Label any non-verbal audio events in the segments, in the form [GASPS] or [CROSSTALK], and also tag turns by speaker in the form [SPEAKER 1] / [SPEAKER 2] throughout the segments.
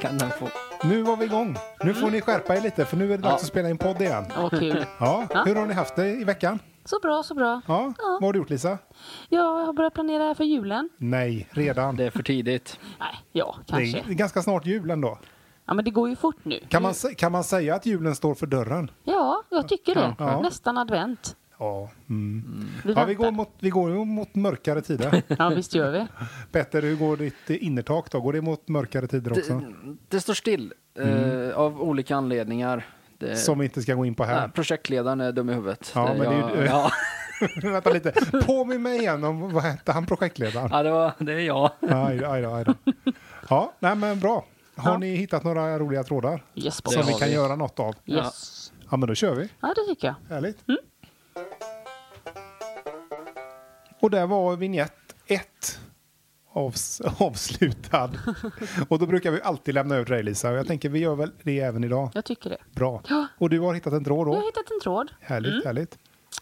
[SPEAKER 1] kan den få.
[SPEAKER 2] Nu var vi igång. Nu får ni skärpa er lite för nu är det dags
[SPEAKER 1] Ja.
[SPEAKER 2] att spela in podd igen.
[SPEAKER 3] Åh, kul.
[SPEAKER 2] Ja,
[SPEAKER 3] Ja.
[SPEAKER 2] hur har ni haft det i veckan?
[SPEAKER 3] Så bra, så bra.
[SPEAKER 2] Ja, vad har du gjort Lisa?
[SPEAKER 3] Ja, jag har börjat planera här för julen.
[SPEAKER 2] Nej, redan.
[SPEAKER 1] Det är för tidigt.
[SPEAKER 3] Nej, ja,
[SPEAKER 2] Det
[SPEAKER 3] kanske.
[SPEAKER 2] är ganska snart jul ändå.
[SPEAKER 3] Ja, men det går ju fort nu.
[SPEAKER 2] Kan man, sä- kan man säga att julen står för dörren?
[SPEAKER 3] Ja, jag tycker det.
[SPEAKER 2] Ja.
[SPEAKER 3] Nästan advent.
[SPEAKER 2] Ja, mm.
[SPEAKER 3] Vi
[SPEAKER 2] ja vi,
[SPEAKER 3] väntar.
[SPEAKER 2] går mot, vi går ju mot mörkare tider.
[SPEAKER 3] Ja, visst gör vi.
[SPEAKER 2] Petter, hur går ditt innertak då? Går det mot mörkare tider också?
[SPEAKER 1] Det, det står still
[SPEAKER 2] Mm.
[SPEAKER 1] eh, av olika anledningar. Det,
[SPEAKER 2] Som vi inte ska gå in på
[SPEAKER 1] nej,
[SPEAKER 2] här.
[SPEAKER 1] projektledaren är dum i huvudet.
[SPEAKER 2] Ja, men det är ju-
[SPEAKER 1] jag, ja,
[SPEAKER 2] [LAUGHS] Vänta lite. Påminn mig igen om vad hette han projektledaren?
[SPEAKER 1] ja, det, var, det är jag.
[SPEAKER 2] Aj då, aj då, aj då. Ja, nej men bra. Har
[SPEAKER 3] Ja.
[SPEAKER 2] ni hittat några roliga trådar
[SPEAKER 3] Yes,
[SPEAKER 1] Det
[SPEAKER 3] boss.
[SPEAKER 2] som vi
[SPEAKER 1] har
[SPEAKER 2] kan
[SPEAKER 1] vi.
[SPEAKER 2] göra något av?
[SPEAKER 3] Yes.
[SPEAKER 2] Ja, men då kör vi.
[SPEAKER 3] Ja, det tycker jag.
[SPEAKER 2] Härligt.
[SPEAKER 3] Mm.
[SPEAKER 2] Och där var vignett 1 avs [LAUGHS] avslutad. och då brukar vi alltid lämna över till dig Lisa. Och jag tänker vi gör väl det även idag.
[SPEAKER 3] Jag tycker det.
[SPEAKER 2] Bra.
[SPEAKER 3] Ja.
[SPEAKER 2] Och du har hittat en tråd
[SPEAKER 3] Jag har
[SPEAKER 2] då?
[SPEAKER 3] hittat en tråd.
[SPEAKER 2] Härligt, härligt.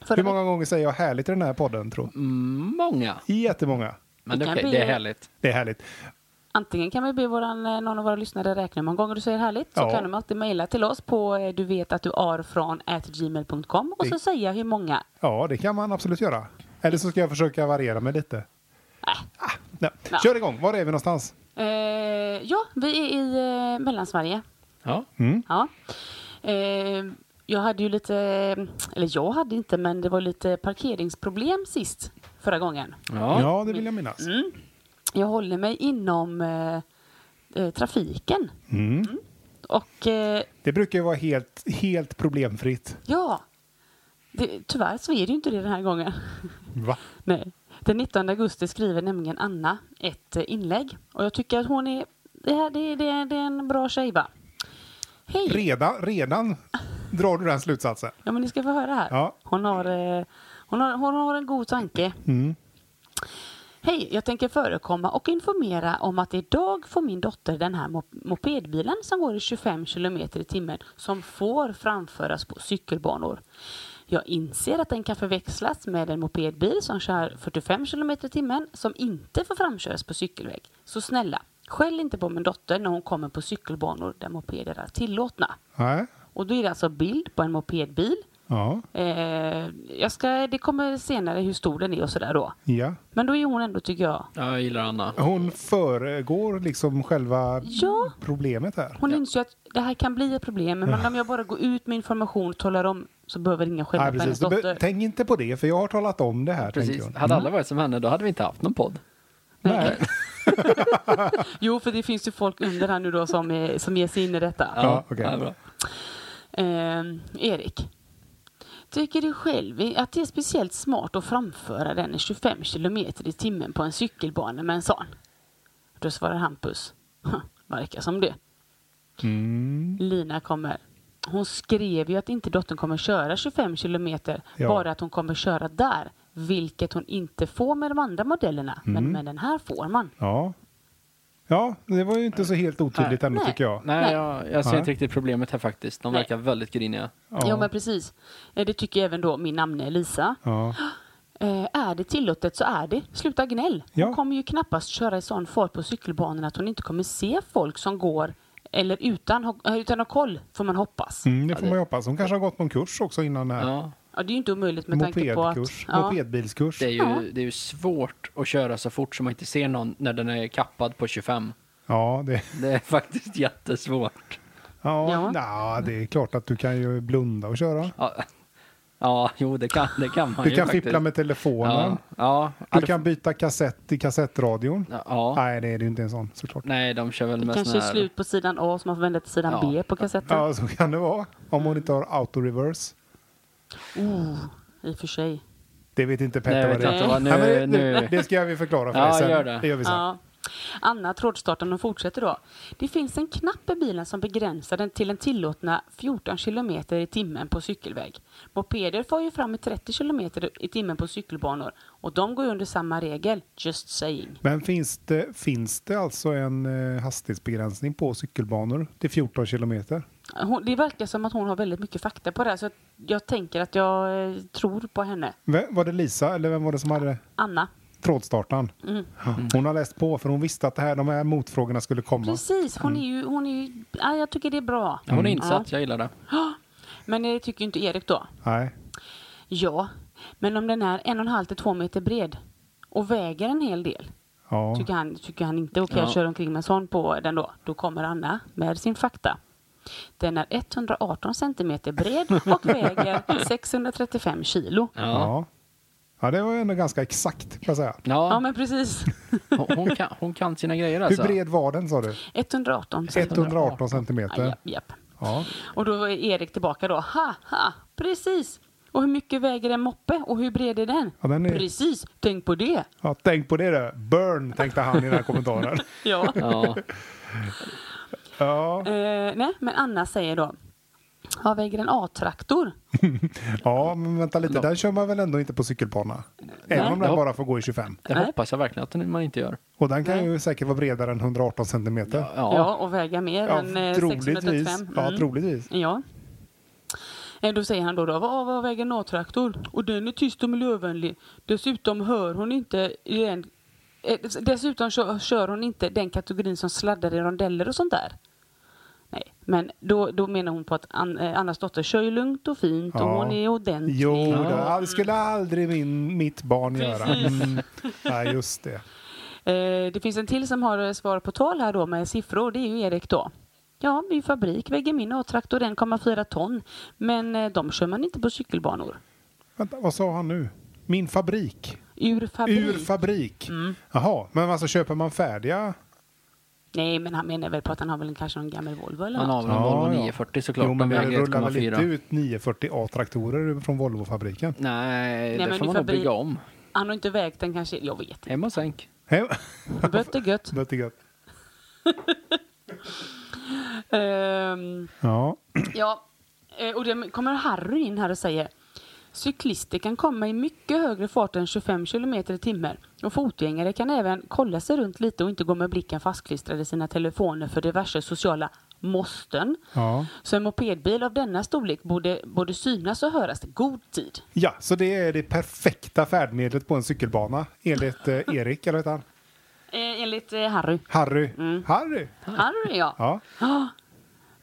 [SPEAKER 3] Förra
[SPEAKER 2] Hur många gånger säger jag härligt i den här podden tror
[SPEAKER 1] Mm.
[SPEAKER 2] du?
[SPEAKER 1] Många.
[SPEAKER 2] Jättemånga.
[SPEAKER 1] Men det,
[SPEAKER 3] Det
[SPEAKER 1] är
[SPEAKER 3] kan
[SPEAKER 1] okej,
[SPEAKER 3] bli-
[SPEAKER 1] det är härligt.
[SPEAKER 2] Det är härligt.
[SPEAKER 3] Antingen kan vi be våran, eh, någon av våra lyssnare räkna hur många gånger du säger härligt. Så
[SPEAKER 2] Ja.
[SPEAKER 3] kan de alltid mejla till oss på eh, du vet att du är från gmail.com och så
[SPEAKER 2] Det-
[SPEAKER 3] säga hur många.
[SPEAKER 2] Ja, det kan man absolut göra. Eller så ska jag försöka variera mig lite. Ah, nej.
[SPEAKER 3] Ja.
[SPEAKER 2] Kör igång. Var är vi någonstans?
[SPEAKER 3] Eh, ja, vi är i eh, Mellansverige.
[SPEAKER 1] Ja.
[SPEAKER 3] Ja. Eh, jag hade ju lite, eller jag hade inte, men det var lite parkeringsproblem sist förra gången. Mm.
[SPEAKER 1] Ja.
[SPEAKER 2] Ja, det vill jag minnas.
[SPEAKER 3] Jag håller mig inom eh, eh, trafiken.
[SPEAKER 2] Mm.
[SPEAKER 3] Och eh,
[SPEAKER 2] Det brukar ju vara helt, helt problemfritt.
[SPEAKER 3] ja, det, tyvärr så är det ju inte det den här gången. [LAUGHS]
[SPEAKER 2] Va?
[SPEAKER 3] Nej. Den 19 augusti skriver nämligen Anna ett eh, inlägg. Och jag tycker att hon är, det, här, det, det, det är en bra tjej va? Hej!
[SPEAKER 2] Redan, redan drar du den slutsatsen.
[SPEAKER 3] Ja, men ni ska få höra här.
[SPEAKER 2] Ja.
[SPEAKER 3] Hon, har, eh, hon, har, hon har en god tanke. Hej, jag tänker förekomma och informera om att idag får min dotter den här mop- mopedbilen som går i 25 kilometer i timmen som får framföras på cykelbanor. Jag inser att den kan förväxlas med en mopedbil som kör 45 kilometer i timmen som inte får framköras på cykelväg. Så snälla, skäll inte på min dotter när hon kommer på cykelbanor där mopeder är tillåtna.
[SPEAKER 2] Nej.
[SPEAKER 3] Och då är det alltså bild på en mopedbil.
[SPEAKER 2] Ja.
[SPEAKER 3] Eh, jag ska, det kommer senare hur stor den är och sådär då.
[SPEAKER 2] ja.
[SPEAKER 3] Men då är hon ändå, tycker jag,
[SPEAKER 1] Ja, jag gillar Anna.
[SPEAKER 2] Hon föregår liksom själva
[SPEAKER 3] Ja.
[SPEAKER 2] problemet här.
[SPEAKER 3] hon inser att det här kan bli ett problem. Men
[SPEAKER 2] Ah.
[SPEAKER 3] om jag bara går ut med information och talar om så behöver ingen skälla
[SPEAKER 2] Nej,
[SPEAKER 3] på hennes
[SPEAKER 2] precis. Du be-
[SPEAKER 3] dotter.
[SPEAKER 2] tänk inte på det, för jag har talat om det här. tänker Mm.
[SPEAKER 1] Precis.
[SPEAKER 2] hon. Mm.
[SPEAKER 1] Hade alla varit som henne, då hade vi inte haft någon podd.
[SPEAKER 3] [LAUGHS]
[SPEAKER 2] Nej.
[SPEAKER 3] Jo, för det finns ju folk under här nu då som, eh, som ger sig in i detta.
[SPEAKER 2] Ja, okej.
[SPEAKER 1] ja, bra.
[SPEAKER 3] Ehm, Erik. Tycker du själv att det är speciellt smart att framföra den i 25 kilometer i timmen på en cykelbana med en sån? Då svarar Hampus. [LAUGHS] "Hm, Verkar som det.
[SPEAKER 2] Mm.
[SPEAKER 3] Lina kommer. Hon skrev ju att inte dottern kommer köra 25 kilometer,
[SPEAKER 2] Ja.
[SPEAKER 3] bara att hon kommer köra där, vilket hon inte får med de andra modellerna,
[SPEAKER 2] Mm.
[SPEAKER 3] men med den här får man.
[SPEAKER 2] Ja. Ja, det var ju inte så helt otydligt ändå
[SPEAKER 3] Nej.
[SPEAKER 2] tycker jag.
[SPEAKER 1] Nej,
[SPEAKER 3] Nej.
[SPEAKER 1] jag, jag ser
[SPEAKER 2] Nej.
[SPEAKER 1] inte riktigt problemet här faktiskt. De
[SPEAKER 3] Nej.
[SPEAKER 1] verkar väldigt griniga.
[SPEAKER 2] Ja.
[SPEAKER 3] Ja, men precis. Eh, Det tycker även då min namne Lisa.
[SPEAKER 2] Ja.
[SPEAKER 3] Eh, är det tillåtet så är det. Sluta gnäll.
[SPEAKER 2] Ja.
[SPEAKER 3] Hon kommer ju knappast köra i sån fart på cykelbanorna att hon inte kommer se folk som går eller utan, ho- eh, utan att ha koll, får man hoppas.
[SPEAKER 2] Mm, det får man ju hoppas. Hon kanske har gått någon kurs också innan det här.
[SPEAKER 1] Ja.
[SPEAKER 3] Ja, det är ju inte omöjligt med tanke på att...
[SPEAKER 2] Mopedkurs.
[SPEAKER 3] Ja,
[SPEAKER 2] Mopedbilskurs.
[SPEAKER 1] Det, är ju,
[SPEAKER 3] Ja.
[SPEAKER 1] det är ju svårt att köra så fort som man inte ser någon när den är kappad på 25.
[SPEAKER 2] Ja, det,
[SPEAKER 1] Det är faktiskt jättesvårt.
[SPEAKER 2] ja,
[SPEAKER 3] Ja.
[SPEAKER 2] nja, det är klart att du kan ju blunda och köra.
[SPEAKER 1] Ja, ja jo, det kan, det kan man
[SPEAKER 2] Du
[SPEAKER 1] ju
[SPEAKER 2] kan
[SPEAKER 1] faktiskt.
[SPEAKER 2] fippla med telefonen.
[SPEAKER 1] Ja, ja,
[SPEAKER 2] Du
[SPEAKER 1] Ja, det-
[SPEAKER 2] kan byta kassett till kassettradion.
[SPEAKER 1] ja. Mm.
[SPEAKER 2] Nej, det är det ju inte en sån såklart.
[SPEAKER 1] Nej, de kör väl
[SPEAKER 3] det
[SPEAKER 1] med
[SPEAKER 3] kanske
[SPEAKER 1] sån
[SPEAKER 3] är
[SPEAKER 1] här...
[SPEAKER 3] slut på sidan A så man får vända till sidan
[SPEAKER 1] Ja.
[SPEAKER 3] B på kassetten.
[SPEAKER 2] Ja, så kan det vara. Om hon inte har autoreverse.
[SPEAKER 3] Oh, i och för sig.
[SPEAKER 2] Det vet inte Petter
[SPEAKER 1] Nej,
[SPEAKER 2] vad
[SPEAKER 1] vet
[SPEAKER 2] det
[SPEAKER 1] jag
[SPEAKER 2] är.
[SPEAKER 1] inte vad. Nu,
[SPEAKER 2] Nej, men det,
[SPEAKER 1] nu.
[SPEAKER 2] det, det ska vi förklara för
[SPEAKER 1] Ja,
[SPEAKER 2] dig sen.
[SPEAKER 1] gör det.
[SPEAKER 2] gör vi sen.
[SPEAKER 3] Ja. Anna trådstarten och fortsätter då. Det finns en knapp i bilen som begränsar den till den tillåtna 14 kilometer i timmen på cykelväg. Mopeder får ju fram i 30 kilometer i timmen på cykelbanor och de går ju under samma regel, just saying.
[SPEAKER 2] Men finns det, finns det alltså en eh, hastighetsbegränsning på cykelbanor till 14 kilometer?
[SPEAKER 3] Hon, det verkar som att hon har väldigt mycket fakta på det här så att jag tänker att jag eh, tror på henne.
[SPEAKER 2] Vem, var det Lisa eller vem var det som hade det?
[SPEAKER 3] Anna.
[SPEAKER 2] trådstartaren.
[SPEAKER 1] Mm.
[SPEAKER 2] Hon har läst på för hon visste att det här, de här motfrågorna skulle komma.
[SPEAKER 3] Precis, hon är ju... Hon är ju ja, jag tycker det är bra.
[SPEAKER 1] Mm. Ja, hon är insatt, jag gillar det.
[SPEAKER 3] Men det tycker ju inte Erik då.
[SPEAKER 2] Nej.
[SPEAKER 3] Ja, men om den är en och en halv till två meter bred och väger en hel del
[SPEAKER 2] Ja.
[SPEAKER 3] tycker, han, tycker han inte okej
[SPEAKER 1] Ja.
[SPEAKER 3] att köra omkring med en sån på den då. Då kommer Anna med sin fakta. Den är 118 centimeter bred och
[SPEAKER 2] [LAUGHS]
[SPEAKER 3] väger 635 kilo.
[SPEAKER 1] Ja.
[SPEAKER 2] Ja. ja, det var ju ändå ganska exakt kan jag säga.
[SPEAKER 3] Ja,
[SPEAKER 1] Ja,
[SPEAKER 3] men precis.
[SPEAKER 1] hon- hon kan, hon kan sina grejer alltså.
[SPEAKER 2] Hur bred var den sa du?
[SPEAKER 3] 118
[SPEAKER 2] 118
[SPEAKER 3] Ja,
[SPEAKER 2] centimeter.
[SPEAKER 3] japp, japp.
[SPEAKER 2] Ja.
[SPEAKER 3] Och då är Erik tillbaka då. Ha, ha, precis. Och hur mycket väger en moppe och hur bred är den?
[SPEAKER 2] Ja, den är-
[SPEAKER 3] Precis, tänk på det.
[SPEAKER 2] ja, tänk på det du. Burn tänkte han i den här kommentaren.
[SPEAKER 3] Ja.
[SPEAKER 1] Ja.
[SPEAKER 2] Ja,
[SPEAKER 3] Eh, nej, men Anna säger då. Vad väger en A-traktor?
[SPEAKER 2] ja men vänta lite. Den kör man väl ändå inte på cykelbana? Även om den
[SPEAKER 1] Ja.
[SPEAKER 2] bara får gå i 25.
[SPEAKER 1] Det
[SPEAKER 3] Nej.
[SPEAKER 1] hoppas jag verkligen att man inte gör.
[SPEAKER 2] Och den kan
[SPEAKER 3] Nej.
[SPEAKER 2] ju säkert vara bredare än 118 centimeter.
[SPEAKER 3] Ja,
[SPEAKER 1] Ja.
[SPEAKER 3] och väga mer än eh, 635.
[SPEAKER 2] troligtvis. Ja,
[SPEAKER 3] Mm.
[SPEAKER 2] troligtvis.
[SPEAKER 3] Ja. Eh, Då säger han då, då vad, vad väger en A-traktor? Och den är tyst och miljövänlig. Dessutom hör hon inte i den, eh, dess- Dessutom kör, kör hon inte den kategorin som sladdar i rondeller och sånt där. Nej, men då, då menar hon på att An, eh, Annas dotter kör ju lugnt och fint och
[SPEAKER 2] Ja.
[SPEAKER 3] hon är ordentlig.
[SPEAKER 2] Jo, då, det skulle aldrig min, mitt barn göra.
[SPEAKER 3] Precis.
[SPEAKER 2] Mm. Nej, just det.
[SPEAKER 3] Eh, det finns en till som har eh, svar på tal här då med siffror. Det är ju Erik då. Ja, min fabrik väger min A-traktor 1,4 ton. Men eh, de kör man inte på cykelbanor.
[SPEAKER 2] Vänta, vad sa han nu? Min fabrik.
[SPEAKER 3] Ur fabrik. Mm.
[SPEAKER 2] Ur fabrik. Jaha, men alltså köper man färdiga?
[SPEAKER 3] Nej, men han menar väl på att han har väl kanske någon gammal Volvo eller
[SPEAKER 1] Han
[SPEAKER 3] något.
[SPEAKER 1] har väl en Volvo 940 såklart.
[SPEAKER 2] Jo,
[SPEAKER 1] Den
[SPEAKER 2] men det
[SPEAKER 1] väger
[SPEAKER 2] rullar väl inte
[SPEAKER 1] 1,4.
[SPEAKER 2] ut 940 A-traktorer från Volvofabriken?
[SPEAKER 1] Nej,
[SPEAKER 3] men
[SPEAKER 1] det får
[SPEAKER 3] i
[SPEAKER 1] man nog
[SPEAKER 3] fabrik-
[SPEAKER 1] bygga om.
[SPEAKER 3] Han har inte vägt den kanske. Jag vet inte.
[SPEAKER 1] Hem och sänk.
[SPEAKER 2] Nej, [LAUGHS]
[SPEAKER 3] Bött är
[SPEAKER 1] [LAUGHS]
[SPEAKER 3] gött.
[SPEAKER 2] det är gött.
[SPEAKER 3] Ehm,
[SPEAKER 2] Ja,
[SPEAKER 3] ja, Eh, och det kommer Harry in här och säger. Cyklister kan komma i mycket högre fart än 25 kilometer i timmen. Och fotgängare kan även kolla sig runt lite och inte gå med blicken fastklistrad i sina telefoner för diverse sociala måsten.
[SPEAKER 2] ja.
[SPEAKER 3] Så en mopedbil av denna storlek borde, borde synas och höras i god tid.
[SPEAKER 2] ja, så det är det perfekta färdmedlet på en cykelbana enligt
[SPEAKER 3] [LAUGHS]
[SPEAKER 2] eh, Erik, eller vad heter han?
[SPEAKER 3] Eh, enligt eh, Harry.
[SPEAKER 2] Harry.
[SPEAKER 3] Mm.
[SPEAKER 2] Harry?
[SPEAKER 3] Harry ja.
[SPEAKER 2] Ja.
[SPEAKER 3] [GASPS]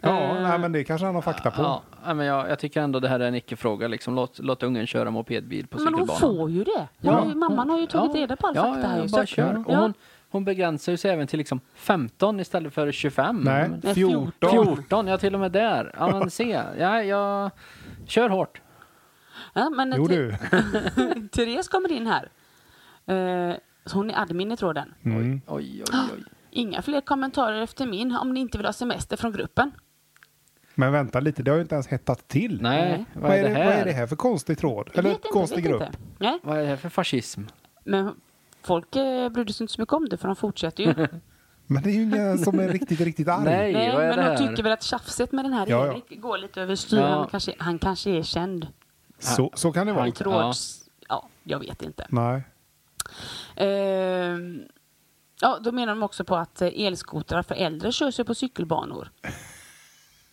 [SPEAKER 2] Ja, nej, men det kanske han har fakta på.
[SPEAKER 1] Ja, nej, men jag, jag tycker ändå det här är en icke-fråga. Liksom, låt, låt ungen köra mopedbil på
[SPEAKER 3] Men hon
[SPEAKER 1] cykelbanan.
[SPEAKER 3] får ju det. Hon
[SPEAKER 1] Ja,
[SPEAKER 3] har ju, mamman har ju tagit
[SPEAKER 1] ja,
[SPEAKER 3] reda på all
[SPEAKER 1] ja,
[SPEAKER 3] fakta
[SPEAKER 1] ja,
[SPEAKER 3] här. ju,
[SPEAKER 1] Ja,
[SPEAKER 3] så
[SPEAKER 1] bara
[SPEAKER 3] att-
[SPEAKER 1] kör. Och
[SPEAKER 3] Ja.
[SPEAKER 1] hon, hon begränsar ju sig även till liksom 15 istället för 25. Ja, men-
[SPEAKER 2] Nej,
[SPEAKER 3] Nej,
[SPEAKER 2] 14.
[SPEAKER 1] 14, ja till och med där. Ja men se, ja, jag kör hårt.
[SPEAKER 3] Ja, men
[SPEAKER 2] Jo
[SPEAKER 3] Ther-
[SPEAKER 2] du.
[SPEAKER 3] [LAUGHS] Therese kommer in här. Eh, så hon är admin i tråden.
[SPEAKER 2] Mm.
[SPEAKER 1] Oj, oj,
[SPEAKER 3] Ah.
[SPEAKER 1] oj.
[SPEAKER 3] Inga fler kommentarer efter min om ni inte vill ha semester från gruppen.
[SPEAKER 2] Men vänta lite, det har ju inte ens hettat till.
[SPEAKER 1] Nej, vad, är det här?
[SPEAKER 2] vad är det här för konstig tråd?
[SPEAKER 3] Jag
[SPEAKER 2] Eller
[SPEAKER 3] vet inte,
[SPEAKER 2] konstig
[SPEAKER 3] vet
[SPEAKER 2] grupp?
[SPEAKER 3] Inte. Nej,
[SPEAKER 1] Vad är det här för fascism?
[SPEAKER 3] men folk eh, brydde sig inte så mycket om det för de
[SPEAKER 1] [LAUGHS]
[SPEAKER 3] fortsätter ju.
[SPEAKER 2] Men det är ju ingen som är riktigt, riktigt arg.
[SPEAKER 1] Nej,
[SPEAKER 3] Nej,
[SPEAKER 1] vad är
[SPEAKER 3] men
[SPEAKER 1] det
[SPEAKER 3] de
[SPEAKER 1] här?
[SPEAKER 3] tycker väl att tjafset med den här
[SPEAKER 2] Ja, ja.
[SPEAKER 3] Erik går lite överstyr.
[SPEAKER 1] Ja.
[SPEAKER 3] Han, kanske, han kanske är känd.
[SPEAKER 2] Så, så kan det vara.
[SPEAKER 1] Han-
[SPEAKER 3] Tråds... Ja, jag vet inte.
[SPEAKER 2] Nej.
[SPEAKER 3] Ehm, ja, då menar de också på att eh, elskotrar för äldre körs ju på cykelbanor.
[SPEAKER 2] [LAUGHS]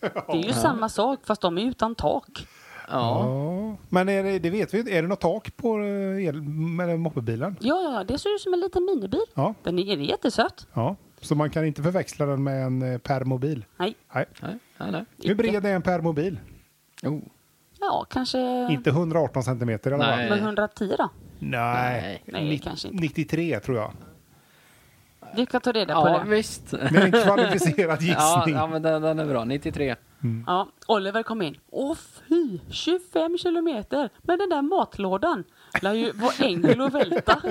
[SPEAKER 3] Det är ju samma sak fast de är utan tak.
[SPEAKER 1] Ja.
[SPEAKER 2] Ja. Men är det, det vet vi inte. Är det något tak på eh, el, eller moppebilen?
[SPEAKER 3] Ja, ja, ja, det ser ut som en liten minibil.
[SPEAKER 2] Ja.
[SPEAKER 3] Den är, den är jättesöt.
[SPEAKER 2] ja. Så man kan inte förväxla den med en eh, permobil?
[SPEAKER 3] Nej,
[SPEAKER 2] Nej.
[SPEAKER 1] Nej, nej, nej.
[SPEAKER 2] Hur bred är en permobil? Oh.
[SPEAKER 1] Jo.
[SPEAKER 3] ja kanske...
[SPEAKER 2] Inte 118 centimeter i alla
[SPEAKER 1] Nej.
[SPEAKER 2] fall.
[SPEAKER 3] Men 110 då?
[SPEAKER 2] Nej.
[SPEAKER 3] Nej,
[SPEAKER 2] Nitt-
[SPEAKER 3] kanske inte.
[SPEAKER 2] 93 tror jag.
[SPEAKER 3] Du kan ta reda på
[SPEAKER 1] Ja,
[SPEAKER 3] det.
[SPEAKER 2] [LAUGHS]
[SPEAKER 1] visst.
[SPEAKER 2] Det är en kvalificerad
[SPEAKER 1] [LAUGHS] Ja,
[SPEAKER 2] gissning.
[SPEAKER 1] ja, men den, den är bra. 93.
[SPEAKER 3] Ja, Oliver kom in. Åh fy, 25 kilometer med den där matlådan. Lär ju vara enkel att välta.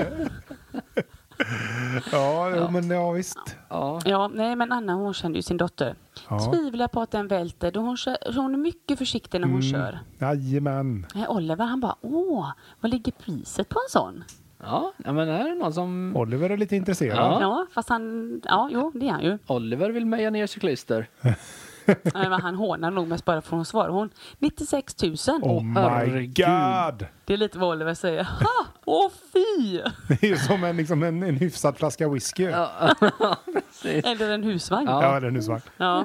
[SPEAKER 2] Ja, jo, men ja visst.
[SPEAKER 1] Ja.
[SPEAKER 3] Ja, nej men Anna hon känner ju sin dotter.
[SPEAKER 2] Ja.
[SPEAKER 3] Tvivlar på att den välter. Då hon, kör, hon är mycket försiktig när hon
[SPEAKER 1] Mm.
[SPEAKER 3] kör.
[SPEAKER 2] Jajamän.
[SPEAKER 3] Nej, Oliver han bara, åh, vad ligger priset på en sån?
[SPEAKER 1] ja, ja, men är det någon som...
[SPEAKER 2] Oliver är lite intresserad.
[SPEAKER 1] Ja.
[SPEAKER 3] Ja, fast han, ja jo det är han ju.
[SPEAKER 1] Oliver vill meja ner cyklister.
[SPEAKER 3] Nej, men han hånar nog mest bara för hon svarar hon. 96 000.
[SPEAKER 2] Oh my
[SPEAKER 1] herregud.
[SPEAKER 2] god! [LAUGHS]
[SPEAKER 3] Det är lite vad Oliver säger. [LAUGHS] Ha, åh fy!
[SPEAKER 2] Det är ju som en, liksom en, en hyfsad flaska whisky. Ja,
[SPEAKER 1] Precis.
[SPEAKER 3] Eller en husvagn.
[SPEAKER 1] Ja.
[SPEAKER 2] ja eller nu svart.
[SPEAKER 3] Ja.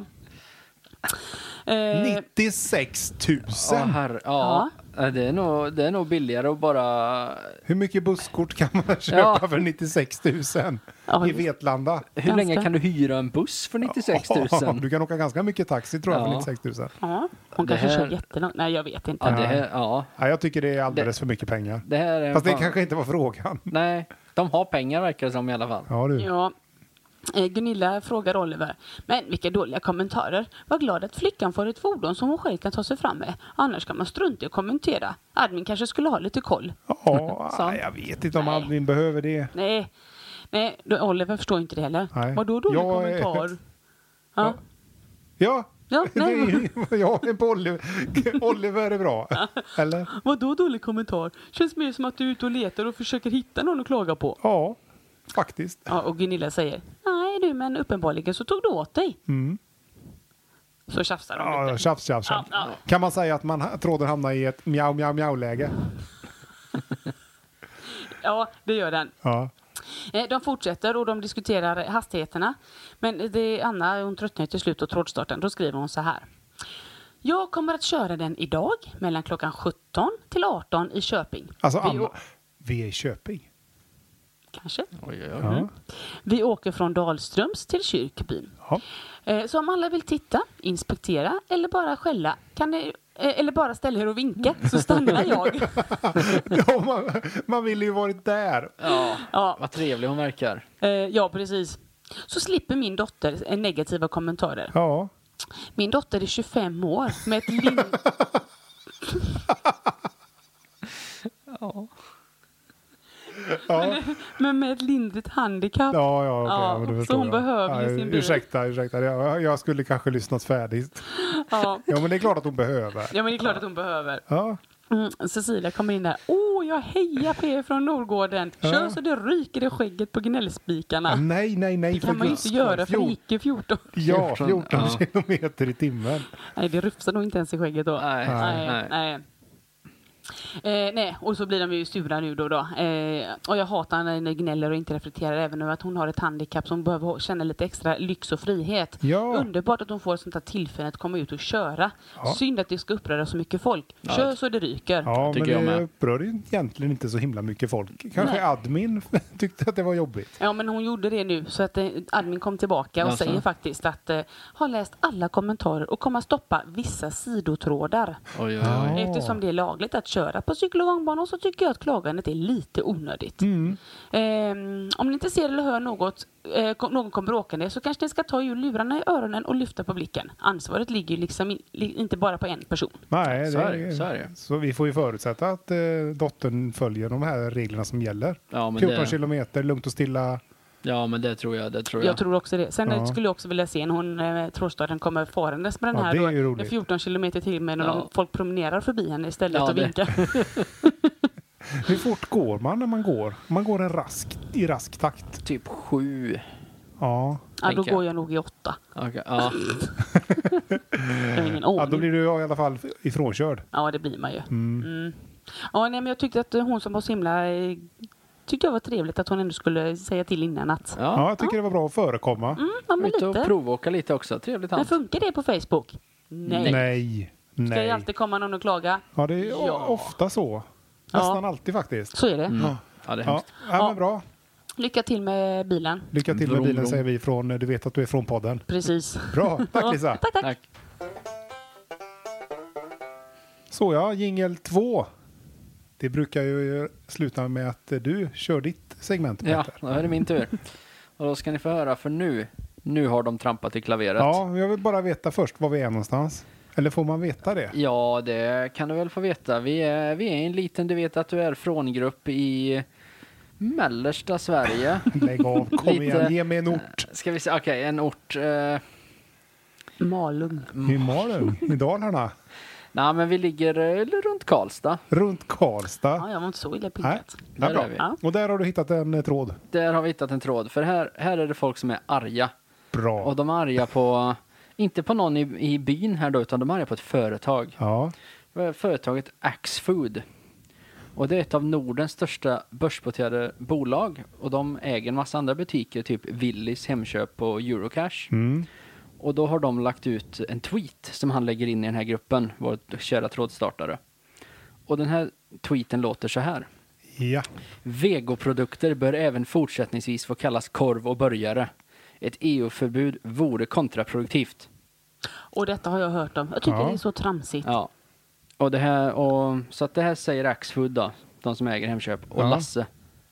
[SPEAKER 3] Eh,
[SPEAKER 2] 96 000!
[SPEAKER 1] Ja, herre, ja. Ja, Det, är nog, det är nog billigare att bara...
[SPEAKER 2] Hur mycket busskort kan man köpa
[SPEAKER 1] Ja.
[SPEAKER 2] för 96 000
[SPEAKER 3] Ja,
[SPEAKER 2] i
[SPEAKER 3] visst.
[SPEAKER 2] Vetlanda?
[SPEAKER 1] Hur
[SPEAKER 3] Eh, Ganska.
[SPEAKER 1] länge kan du hyra en buss för 96
[SPEAKER 2] Ja,
[SPEAKER 1] 000?
[SPEAKER 2] Du kan åka ganska mycket taxi tror jag
[SPEAKER 1] Ja.
[SPEAKER 2] för 96 000.
[SPEAKER 3] ja, hon
[SPEAKER 1] Det
[SPEAKER 3] kanske
[SPEAKER 1] här-
[SPEAKER 3] kör jättelångt. Nej, jag vet inte.
[SPEAKER 1] Ja, det här, ja.
[SPEAKER 2] Ja, jag tycker det är alldeles för mycket pengar.
[SPEAKER 1] Det här är... en
[SPEAKER 2] Fast det
[SPEAKER 1] fan-
[SPEAKER 2] kanske inte var frågan.
[SPEAKER 1] Nej, de har pengar verkar det som i alla fall.
[SPEAKER 2] Ja, du.
[SPEAKER 3] Ja. Eh, Gunilla frågar Oliver, men vilka dåliga kommentarer. Var glad att flickan får ett fordon som hon själv kan ta sig fram med. Annars kan man strunta i att kommentera. Admin kanske skulle ha lite koll.
[SPEAKER 2] Ja,
[SPEAKER 3] Sant.
[SPEAKER 2] jag vet inte om
[SPEAKER 3] Nej.
[SPEAKER 2] Albin behöver det.
[SPEAKER 3] Nej, Nej då- Oliver förstår inte det heller.
[SPEAKER 2] Nej.
[SPEAKER 3] Vadå dålig
[SPEAKER 2] Jag är-
[SPEAKER 3] kommentar?
[SPEAKER 2] [LAUGHS]
[SPEAKER 3] Ja.
[SPEAKER 2] Ja,
[SPEAKER 3] Ja,
[SPEAKER 2] [LAUGHS] det
[SPEAKER 3] nej.
[SPEAKER 2] är, jag är på Oliver. Oliver är bra. Eller?
[SPEAKER 3] Vadå dålig kommentar? Känns mer som att du är ute och letar och försöker hitta någon att klaga på.
[SPEAKER 2] Ja, faktiskt.
[SPEAKER 3] Ja, och Gunilla säger, nej du, men uppenbarligen så tog du åt dig.
[SPEAKER 2] Mm.
[SPEAKER 3] Så tjafsar de
[SPEAKER 2] Ja,
[SPEAKER 3] lite.
[SPEAKER 2] tjafs, tjafs, tjafs.
[SPEAKER 3] Ja, ja.
[SPEAKER 2] Kan man säga att man, tråden hamnar i ett mjau, mjau, mjau-läge?
[SPEAKER 3] Ja, det gör den.
[SPEAKER 2] Ja.
[SPEAKER 3] Eh, De fortsätter och de diskuterar hastigheterna. Men det, Anna hon tröttnar ju till slut och trådstarten. Då skriver hon så här. Jag kommer att köra den idag mellan klockan 17 till 18 i Köping.
[SPEAKER 2] Alltså,
[SPEAKER 3] vi,
[SPEAKER 2] Anna,
[SPEAKER 3] å-
[SPEAKER 2] vi är i Köping.
[SPEAKER 3] kanske.
[SPEAKER 1] Oj, oj, oj.
[SPEAKER 3] Mm.
[SPEAKER 2] Ja.
[SPEAKER 3] vi åker från Dalströms till Kyrkbyn.
[SPEAKER 2] Ja.
[SPEAKER 3] Eh, Så om alla vill titta, inspektera eller bara skälla kan ni, eh, eller bara ställa er och vinka så stannar
[SPEAKER 2] [LAUGHS]
[SPEAKER 3] jag.
[SPEAKER 2] [LAUGHS] Ja, man, man vill ju varit där.
[SPEAKER 1] Ja,
[SPEAKER 3] Ja.
[SPEAKER 1] vad trevlig hon verkar.
[SPEAKER 3] Eh, Ja, precis. Så slipper min dotter eh, negativa kommentarer.
[SPEAKER 2] Ja.
[SPEAKER 3] Min dotter är 25 år med ett lin...
[SPEAKER 2] Ja,
[SPEAKER 3] Men med ett lindrigt handikapp.
[SPEAKER 2] ja, ja, okej,
[SPEAKER 3] Ja,
[SPEAKER 2] men
[SPEAKER 3] för
[SPEAKER 2] det förstår
[SPEAKER 3] hon
[SPEAKER 2] jag.
[SPEAKER 3] behöver ju
[SPEAKER 2] Ja,
[SPEAKER 3] sin bil.
[SPEAKER 2] Ursäkta, ursäkta. Jag, jag skulle kanske lyssnat färdigt.
[SPEAKER 3] Ja.
[SPEAKER 2] Ja, men det är klart att hon behöver.
[SPEAKER 3] ja, men det är klart att hon behöver.
[SPEAKER 2] Ja,
[SPEAKER 3] Mm, Cecilia kommer in där. Åh, jag hejar på er från Norrgården. Kör
[SPEAKER 2] Ja.
[SPEAKER 3] så det ryker i skägget på gnällspikarna.
[SPEAKER 2] Nej, nej, nej.
[SPEAKER 3] det kan man ju inte göra för det gick ju 14.
[SPEAKER 2] Ja,
[SPEAKER 1] 14,
[SPEAKER 2] 14
[SPEAKER 1] ja.
[SPEAKER 2] kilometer i timmen.
[SPEAKER 3] Nej, det rufsar nog inte ens i skägget då.
[SPEAKER 1] Nej,
[SPEAKER 3] nej.
[SPEAKER 1] nej.
[SPEAKER 3] nej. Eh, nej, och så blir de ju sura nu då. då. Eh, och jag hatar när ni gnäller och inte reflekterar även över att hon har ett handikapp som behöver ha- känna lite extra lyx och frihet.
[SPEAKER 2] Ja.
[SPEAKER 3] Underbart att hon får ett sånt här tillfälle att komma ut och köra.
[SPEAKER 2] Ja.
[SPEAKER 3] Synd att det ska uppröra så mycket folk. Kör så det ryker.
[SPEAKER 2] Ja, men
[SPEAKER 1] Tycker jag
[SPEAKER 2] det
[SPEAKER 1] med.
[SPEAKER 2] upprör ju egentligen inte så himla mycket folk. Kanske
[SPEAKER 3] Nej.
[SPEAKER 2] admin [LAUGHS] tyckte att det var jobbigt.
[SPEAKER 3] Ja, men hon gjorde det nu så att eh, admin kom tillbaka och
[SPEAKER 1] Jaså?
[SPEAKER 3] säger faktiskt att eh, har läst alla kommentarer och kommer att stoppa vissa sidotrådar.
[SPEAKER 1] Oj, oj, oj.
[SPEAKER 3] Eftersom det är lagligt att köra på cykel och gångbanor så tycker jag att klagandet är lite onödigt.
[SPEAKER 2] Mm.
[SPEAKER 3] Ehm, om ni inte ser eller hör något, eh, kom- någon kommer åkande så kanske ni ska ta ur lurarna i öronen och lyfta på blicken. Ansvaret ligger ju liksom in, li, inte bara på en person.
[SPEAKER 2] Nej,
[SPEAKER 1] Så är det, så är det.
[SPEAKER 2] så vi får ju förutsätta att eh, dottern följer de här reglerna som gäller.
[SPEAKER 1] Ja, men
[SPEAKER 2] 14
[SPEAKER 1] det-
[SPEAKER 2] kilometer, lugnt och stilla.
[SPEAKER 1] Ja, men det tror jag. Det tror jag.
[SPEAKER 3] Jag tror också det. Sen eh,
[SPEAKER 2] Ja.
[SPEAKER 3] skulle jag också vilja se när hon, eh, Trådstaden kommer farandes med den
[SPEAKER 2] Ja,
[SPEAKER 3] här
[SPEAKER 2] det är
[SPEAKER 3] då,
[SPEAKER 2] ju roligt.
[SPEAKER 3] med 14 kilometer till med när
[SPEAKER 1] Ja.
[SPEAKER 3] de, folk promenerar förbi henne istället
[SPEAKER 1] Ja,
[SPEAKER 3] och
[SPEAKER 1] det-
[SPEAKER 3] vinkar.
[SPEAKER 1] [LAUGHS]
[SPEAKER 2] Hur fort går man när man går? Man går en rask, i rask takt.
[SPEAKER 1] Typ sju.
[SPEAKER 2] Ja,
[SPEAKER 3] ja, då
[SPEAKER 1] tänker jag.
[SPEAKER 3] går jag nog i åtta.
[SPEAKER 1] Okej, ja.
[SPEAKER 3] Jag har ingen
[SPEAKER 2] ja då
[SPEAKER 3] aning.
[SPEAKER 2] blir du i alla fall ifrånkörd.
[SPEAKER 3] Ja, det blir man ju. Mm. Ja, nej, men jag tyckte att hon som var så himla... eh, Tyckte jag var trevligt att hon ändå skulle säga till innan att...
[SPEAKER 2] Ja,
[SPEAKER 1] ja.
[SPEAKER 2] jag tycker det var bra att förekomma.
[SPEAKER 3] Mm, ja, men
[SPEAKER 1] Ut och
[SPEAKER 3] lite.
[SPEAKER 1] provåka lite också. Trevligt
[SPEAKER 3] Men
[SPEAKER 1] han.
[SPEAKER 3] funkar det på Facebook? Nej.
[SPEAKER 2] Nej.
[SPEAKER 3] Ska det
[SPEAKER 2] Nej.
[SPEAKER 3] alltid komma någon och klaga?
[SPEAKER 2] Ja, det är o-
[SPEAKER 3] Ja.
[SPEAKER 2] ofta så.
[SPEAKER 3] Ja.
[SPEAKER 2] Nästan alltid faktiskt.
[SPEAKER 3] Så är det.
[SPEAKER 1] Mm. Ja, det är
[SPEAKER 2] Ja,
[SPEAKER 1] hemskt.
[SPEAKER 2] ja,
[SPEAKER 3] Ja.
[SPEAKER 2] men bra.
[SPEAKER 3] Lycka till med bilen.
[SPEAKER 2] Lycka till med
[SPEAKER 1] Vroom,
[SPEAKER 2] bilen
[SPEAKER 1] vroom.
[SPEAKER 2] säger vi från eh, Du vet att du är från podden.
[SPEAKER 3] Precis.
[SPEAKER 2] Bra, tack Lisa.
[SPEAKER 3] Tack, tack.
[SPEAKER 1] Tack.
[SPEAKER 2] Så ja, jingel två. Det brukar ju sluta med att eh, du kör ditt segment
[SPEAKER 1] Ja,
[SPEAKER 2] Peter.
[SPEAKER 1] då är det min tur. Och då ska ni få höra, för nu, nu har de trampat i klaveret.
[SPEAKER 2] Ja, men jag vill bara veta först var vi är någonstans. Eller får man veta det?
[SPEAKER 1] Ja, det kan du väl få veta. Vi är, vi är en liten Du vet att du är frångrupp i mellersta Sverige.
[SPEAKER 2] Lägg av,
[SPEAKER 3] [LAUGHS]
[SPEAKER 2] kom
[SPEAKER 1] Lite-
[SPEAKER 2] igen, ge mig en ort.
[SPEAKER 1] Ska vi se, okej, en ort. Eh,
[SPEAKER 3] Malung.
[SPEAKER 2] I Malung, i Dalarna,
[SPEAKER 1] nej, men vi ligger eh, runt Karlstad.
[SPEAKER 2] runt Karlstad.
[SPEAKER 3] Ja, jag var inte så illa
[SPEAKER 2] Nej,
[SPEAKER 3] pinkat.
[SPEAKER 2] ja,
[SPEAKER 1] Där
[SPEAKER 2] bra.
[SPEAKER 1] är vi.
[SPEAKER 3] Ja.
[SPEAKER 2] Och där har du hittat en eh, tråd.
[SPEAKER 1] Där har vi hittat en tråd, för här, här är det folk som är arga.
[SPEAKER 2] Bra.
[SPEAKER 1] Och de är arga på, inte på någon i, i byn här då, utan de är arga på ett företag.
[SPEAKER 2] Ja,
[SPEAKER 1] Det var Företaget Axfood. Och det är ett av Nordens största börsnoterade bolag. Och de äger en massa andra butiker, typ Willys, Hemköp och Eurocash.
[SPEAKER 2] mm.
[SPEAKER 1] Och då har de lagt ut en tweet som han lägger in i den här gruppen, vår kära trådstartare. Och den här tweeten låter så här.
[SPEAKER 2] Ja.
[SPEAKER 1] Vegoprodukter bör även fortsättningsvis få kallas korv och burgare. Ett EU-förbud vore kontraproduktivt.
[SPEAKER 3] Och detta har jag hört om. Jag tycker
[SPEAKER 2] Ja.
[SPEAKER 3] det är så tramsigt.
[SPEAKER 1] Ja. Och det här, och, så att det här säger Axfood då, de som äger Hemköp. Och
[SPEAKER 2] Ja.
[SPEAKER 1] Lasse,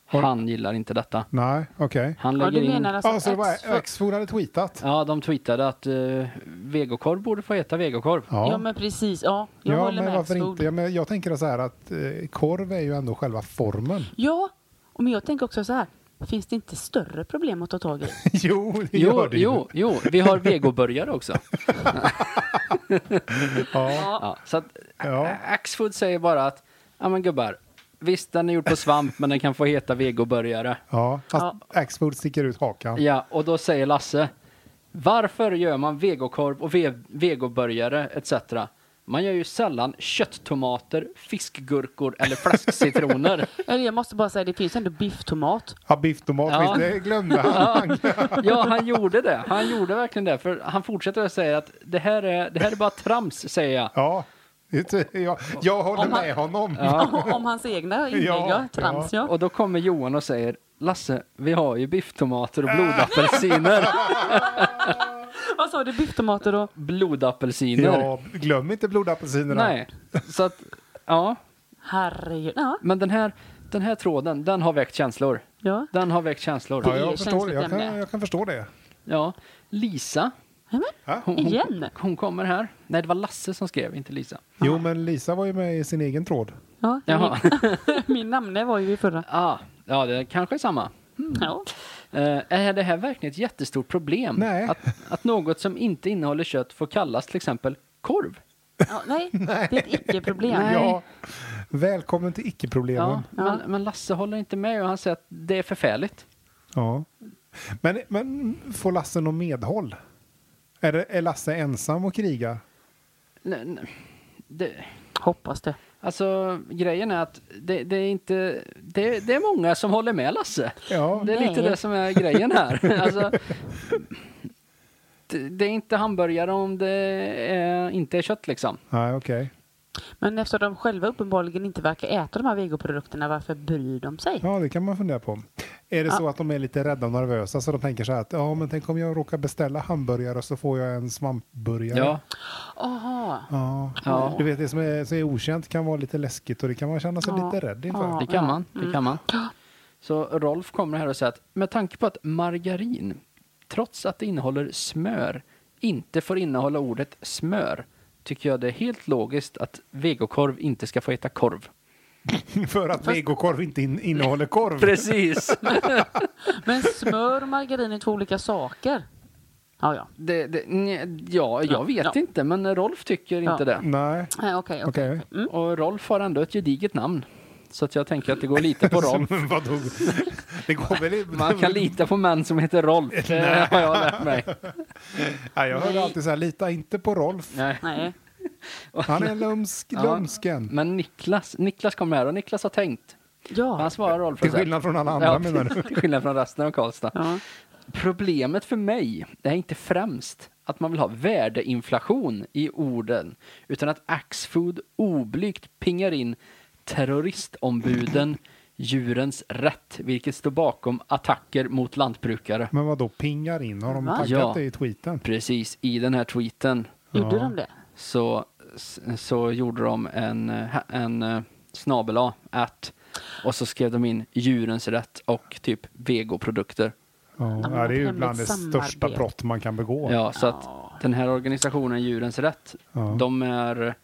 [SPEAKER 1] han gillar inte detta.
[SPEAKER 2] Nej, okej.
[SPEAKER 1] Han
[SPEAKER 3] Ja,
[SPEAKER 1] lägger
[SPEAKER 3] du
[SPEAKER 1] in...
[SPEAKER 3] menar
[SPEAKER 2] Ja, så det
[SPEAKER 3] alltså
[SPEAKER 2] var
[SPEAKER 3] Axfood?
[SPEAKER 2] Axfood hade tweetat.
[SPEAKER 1] Ja, de tweetade att uh, vegokorv borde få heta vegokorv.
[SPEAKER 3] Ja, men precis. Ja, jag
[SPEAKER 2] Ja,
[SPEAKER 3] håller
[SPEAKER 2] men
[SPEAKER 3] med.
[SPEAKER 2] varför
[SPEAKER 3] Axfood.
[SPEAKER 2] inte? Ja, men jag tänker så här att eh, korv är ju ändå själva formen.
[SPEAKER 3] Ja, och men jag tänker också så här. Finns det inte större problem att ta tag i?
[SPEAKER 2] [LAUGHS] jo, det
[SPEAKER 1] Jo,
[SPEAKER 2] gör det ju.
[SPEAKER 1] jo, jo, vi har vegoburgare också.
[SPEAKER 2] [LAUGHS] Ja.
[SPEAKER 1] [LAUGHS] Ja, så att
[SPEAKER 2] Ja.
[SPEAKER 1] Ä- Axfood säger bara att, ja men gubbar, visst den är gjord på svamp men den kan få heta vegoburgare.
[SPEAKER 2] ja, fast
[SPEAKER 3] Ja.
[SPEAKER 2] Axfood sticker ut hakan.
[SPEAKER 1] Ja, och då säger Lasse, varför gör man vegokorv och ve- vegoburgare etc. Man gör ju sällan kötttomater, fiskgurkor eller fläskcitroner.
[SPEAKER 3] Eller jag måste bara säga, det finns ändå bifftomat.
[SPEAKER 2] Ja, bifftomat,
[SPEAKER 1] Ja.
[SPEAKER 2] det glömde han.
[SPEAKER 1] ja, han gjorde det. Han gjorde verkligen det. För han fortsätter att säga att det här är, det här är bara trams, säger jag.
[SPEAKER 2] [LAUGHS] Ja, det- jag, jag håller
[SPEAKER 3] Om han-
[SPEAKER 2] med honom.
[SPEAKER 3] Om hans egna inlägg,
[SPEAKER 2] Ja,
[SPEAKER 3] ja. Trams, ja.
[SPEAKER 1] Och då kommer Johan och säger, Lasse, vi har ju bifftomater och blodapelsiner.
[SPEAKER 3] Vad sa du? Bifftomater och...
[SPEAKER 1] blodapelsiner.
[SPEAKER 2] Ja, glöm inte blodapelsinerna.
[SPEAKER 1] Nej, så att, ja.
[SPEAKER 3] Herregud. Ja,
[SPEAKER 1] Men den här, den här tråden, den har väckt känslor.
[SPEAKER 3] ja.
[SPEAKER 1] Den har väckt känslor.
[SPEAKER 2] Ja,
[SPEAKER 3] Det
[SPEAKER 2] jag,
[SPEAKER 3] är
[SPEAKER 2] förstår, det. jag,
[SPEAKER 3] känsligt
[SPEAKER 2] kan,
[SPEAKER 3] ämne.
[SPEAKER 2] jag kan förstå det.
[SPEAKER 1] Ja. Lisa,
[SPEAKER 3] Nämen,
[SPEAKER 1] hon, hon,
[SPEAKER 3] Igen?
[SPEAKER 1] hon kommer här. Nej, det var Lasse som skrev, inte Lisa.
[SPEAKER 2] Jo, men Lisa var ju med i sin egen tråd.
[SPEAKER 3] Ja,
[SPEAKER 1] Jaha.
[SPEAKER 3] [LAUGHS] Min, min namne var ju i förra.
[SPEAKER 1] [LAUGHS] Ah, ja, det kanske är samma.
[SPEAKER 3] Ja.
[SPEAKER 1] Eh, är det här verkligen ett jättestort problem?
[SPEAKER 2] Nej.
[SPEAKER 1] Att, att något som inte innehåller kött får kallas till exempel korv?
[SPEAKER 3] Ja, nej, det är ett icke-problem.
[SPEAKER 1] Nej.
[SPEAKER 2] Ja, välkommen till
[SPEAKER 1] Ja,
[SPEAKER 2] icke-problemen. Ja.
[SPEAKER 1] men, men Lasse håller inte med och han säger att det är förfärligt.
[SPEAKER 2] Men, men får Lasse någon medhåll? Är, det, är Lasse ensam och kriga?
[SPEAKER 1] Nej, nej. Det,
[SPEAKER 3] Hoppas det.
[SPEAKER 1] Alltså grejen är att det, det är inte, det, det är många som håller med Lasse.
[SPEAKER 2] Ja,
[SPEAKER 1] Det är lite
[SPEAKER 3] Nej.
[SPEAKER 1] det som är grejen här. Alltså, det, det är inte hamburgare om det är, inte är kött liksom.
[SPEAKER 2] nej okej.
[SPEAKER 3] Men eftersom de själva uppenbarligen inte verkar äta de här vegoprodukterna, varför bryr de sig?
[SPEAKER 2] Ja, det kan man fundera på. Är det så att de är lite rädda och nervösa så de tänker så här att ja, men tänk om jag råkar beställa hamburgare och så får jag en svampburgare.
[SPEAKER 1] Ja,
[SPEAKER 3] Aha.
[SPEAKER 2] Ja.
[SPEAKER 1] Ja.
[SPEAKER 2] Du vet, det som är, som är okänt kan vara lite läskigt och det kan man känna sig
[SPEAKER 3] Ja.
[SPEAKER 2] lite rädd inför.
[SPEAKER 3] Ja.
[SPEAKER 2] [LAUGHS]
[SPEAKER 1] det kan man. Det kan man. Mm. Så Rolf kommer här och säger att med tanke på att margarin, trots att det innehåller smör, inte får innehålla ordet smör, tycker jag det är helt logiskt att vegokorv inte ska få heta korv.
[SPEAKER 2] För att vegokorv inte in, innehåller korv.
[SPEAKER 1] Precis!
[SPEAKER 3] Men smör och margarin är två olika saker. Ja, ja.
[SPEAKER 1] Det, det, nj- ja, jag
[SPEAKER 3] Ja,
[SPEAKER 1] vet
[SPEAKER 3] ja.
[SPEAKER 1] inte, men Rolf tycker
[SPEAKER 3] Ja.
[SPEAKER 1] inte det.
[SPEAKER 2] Nej,
[SPEAKER 3] Nej, Eh, Okej, okej.
[SPEAKER 2] okej.
[SPEAKER 1] Och Rolf har ändå ett gediget namn. Så att jag tänker att det går att lita Mm, på
[SPEAKER 2] [LAUGHS]
[SPEAKER 1] Rolf.
[SPEAKER 2] Men vadå? Det går väl i-
[SPEAKER 1] Man kan
[SPEAKER 2] [LAUGHS]
[SPEAKER 1] lita på män som heter Rolf, det [LAUGHS] har jag lärt mig.
[SPEAKER 2] Nej, jag hörde alltid så här, lita inte på Rolf.
[SPEAKER 1] Nej.
[SPEAKER 3] Nej.
[SPEAKER 2] Han är lömsk,
[SPEAKER 1] Ja. Mm.
[SPEAKER 2] lömsken.
[SPEAKER 1] Men Niklas, Niklas kommer här och Niklas har tänkt.
[SPEAKER 3] Ja.
[SPEAKER 1] Han svarar Rolf.
[SPEAKER 2] Till
[SPEAKER 1] så här-
[SPEAKER 2] skillnad från alla andra menar du?
[SPEAKER 1] [LAUGHS] Till skillnad från resten av Karlstad.
[SPEAKER 3] ja.
[SPEAKER 1] Problemet för mig det är inte främst att man vill ha värdeinflation i orden, utan att Axfood oblygt pingar in terroristombuden djurens rätt, vilket står bakom attacker mot lantbrukare.
[SPEAKER 2] Men vadå, pingar in? Har de
[SPEAKER 3] Va?
[SPEAKER 2] taggat
[SPEAKER 1] Ja.
[SPEAKER 2] det i tweeten?
[SPEAKER 1] Precis, i den här tweeten
[SPEAKER 3] Gjorde de det?
[SPEAKER 1] så, så gjorde de en, eh, en eh, snabel A, att, och så skrev de in djurens rätt och typ vegoprodukter.
[SPEAKER 2] Ja,
[SPEAKER 3] men
[SPEAKER 2] ja, det är ju
[SPEAKER 3] hemligt
[SPEAKER 2] bland det största
[SPEAKER 3] samarbete.
[SPEAKER 2] brott man kan begå.
[SPEAKER 1] Ja, så att
[SPEAKER 3] Ja.
[SPEAKER 1] den här organisationen Djurens Rätt,
[SPEAKER 2] Ja.
[SPEAKER 1] de är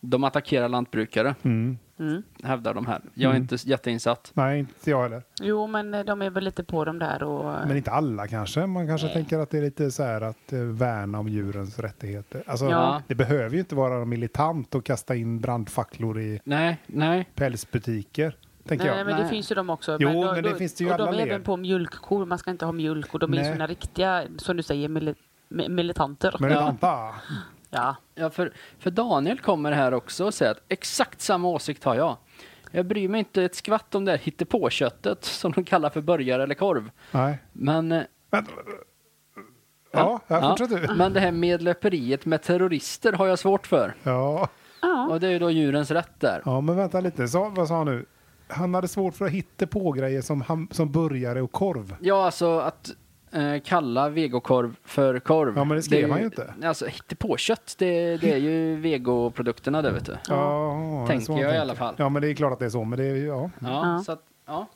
[SPEAKER 1] de attackerar lantbrukare,
[SPEAKER 2] Mm.
[SPEAKER 3] Mm.
[SPEAKER 1] hävdar de här. Jag är inte jätteinsatt.
[SPEAKER 2] Nej, inte jag heller.
[SPEAKER 3] Jo, men eh, de är väl lite på dem där och...
[SPEAKER 2] Men inte alla kanske. Man kanske tänker att det är lite så här att eh, värna om djurens rättigheter. Alltså,
[SPEAKER 1] Ja.
[SPEAKER 2] Det behöver ju inte vara militant och kasta in brandfacklor i
[SPEAKER 1] Nej, nej.
[SPEAKER 2] pälsbutiker. Tänker
[SPEAKER 3] Nej,
[SPEAKER 2] jag.
[SPEAKER 3] men
[SPEAKER 1] Nej.
[SPEAKER 3] det finns ju de också.
[SPEAKER 2] Jo, men det finns det ju
[SPEAKER 3] och
[SPEAKER 2] alla
[SPEAKER 3] de är
[SPEAKER 2] led.
[SPEAKER 3] även på mjölkkor. Man ska inte ha mjölk och de är
[SPEAKER 2] Nej.
[SPEAKER 3] ju såna riktiga, som du säger, mili- mi- militanter.
[SPEAKER 2] Men
[SPEAKER 1] Ja.
[SPEAKER 2] vänta.
[SPEAKER 3] Ja.
[SPEAKER 1] Ja, för, för Daniel kommer här också och säger att exakt samma åsikt har jag. Jag bryr mig inte ett skvatt om det här hittepåköttet som de kallar för burgare eller korv.
[SPEAKER 2] Nej.
[SPEAKER 1] Men eh,
[SPEAKER 2] Men, Ja, ja, fortsätt du.
[SPEAKER 1] Men det här medlöperiet med terrorister har jag svårt för.
[SPEAKER 2] Ja.
[SPEAKER 3] Ja.
[SPEAKER 1] Och det är ju då djurens rätt där.
[SPEAKER 2] ja, men vänta lite. Så, vad sa han nu? Han hade svårt för att hitta på grejer som, ham- som burgare och korv.
[SPEAKER 1] Ja, alltså att eh, kalla vegokorv för korv.
[SPEAKER 2] Ja, men det skrev
[SPEAKER 1] är ju-
[SPEAKER 2] han ju inte.
[SPEAKER 1] Alltså, hittepåkött, det, det är
[SPEAKER 2] [LAUGHS]
[SPEAKER 1] ju vegoprodukterna det, vet du. Ja,
[SPEAKER 2] Ja,
[SPEAKER 1] Tänker
[SPEAKER 2] så han
[SPEAKER 1] jag i alla fall.
[SPEAKER 2] Ja, men det är klart att det är så. Men det är, ja.
[SPEAKER 3] Ja.
[SPEAKER 1] så att, ja.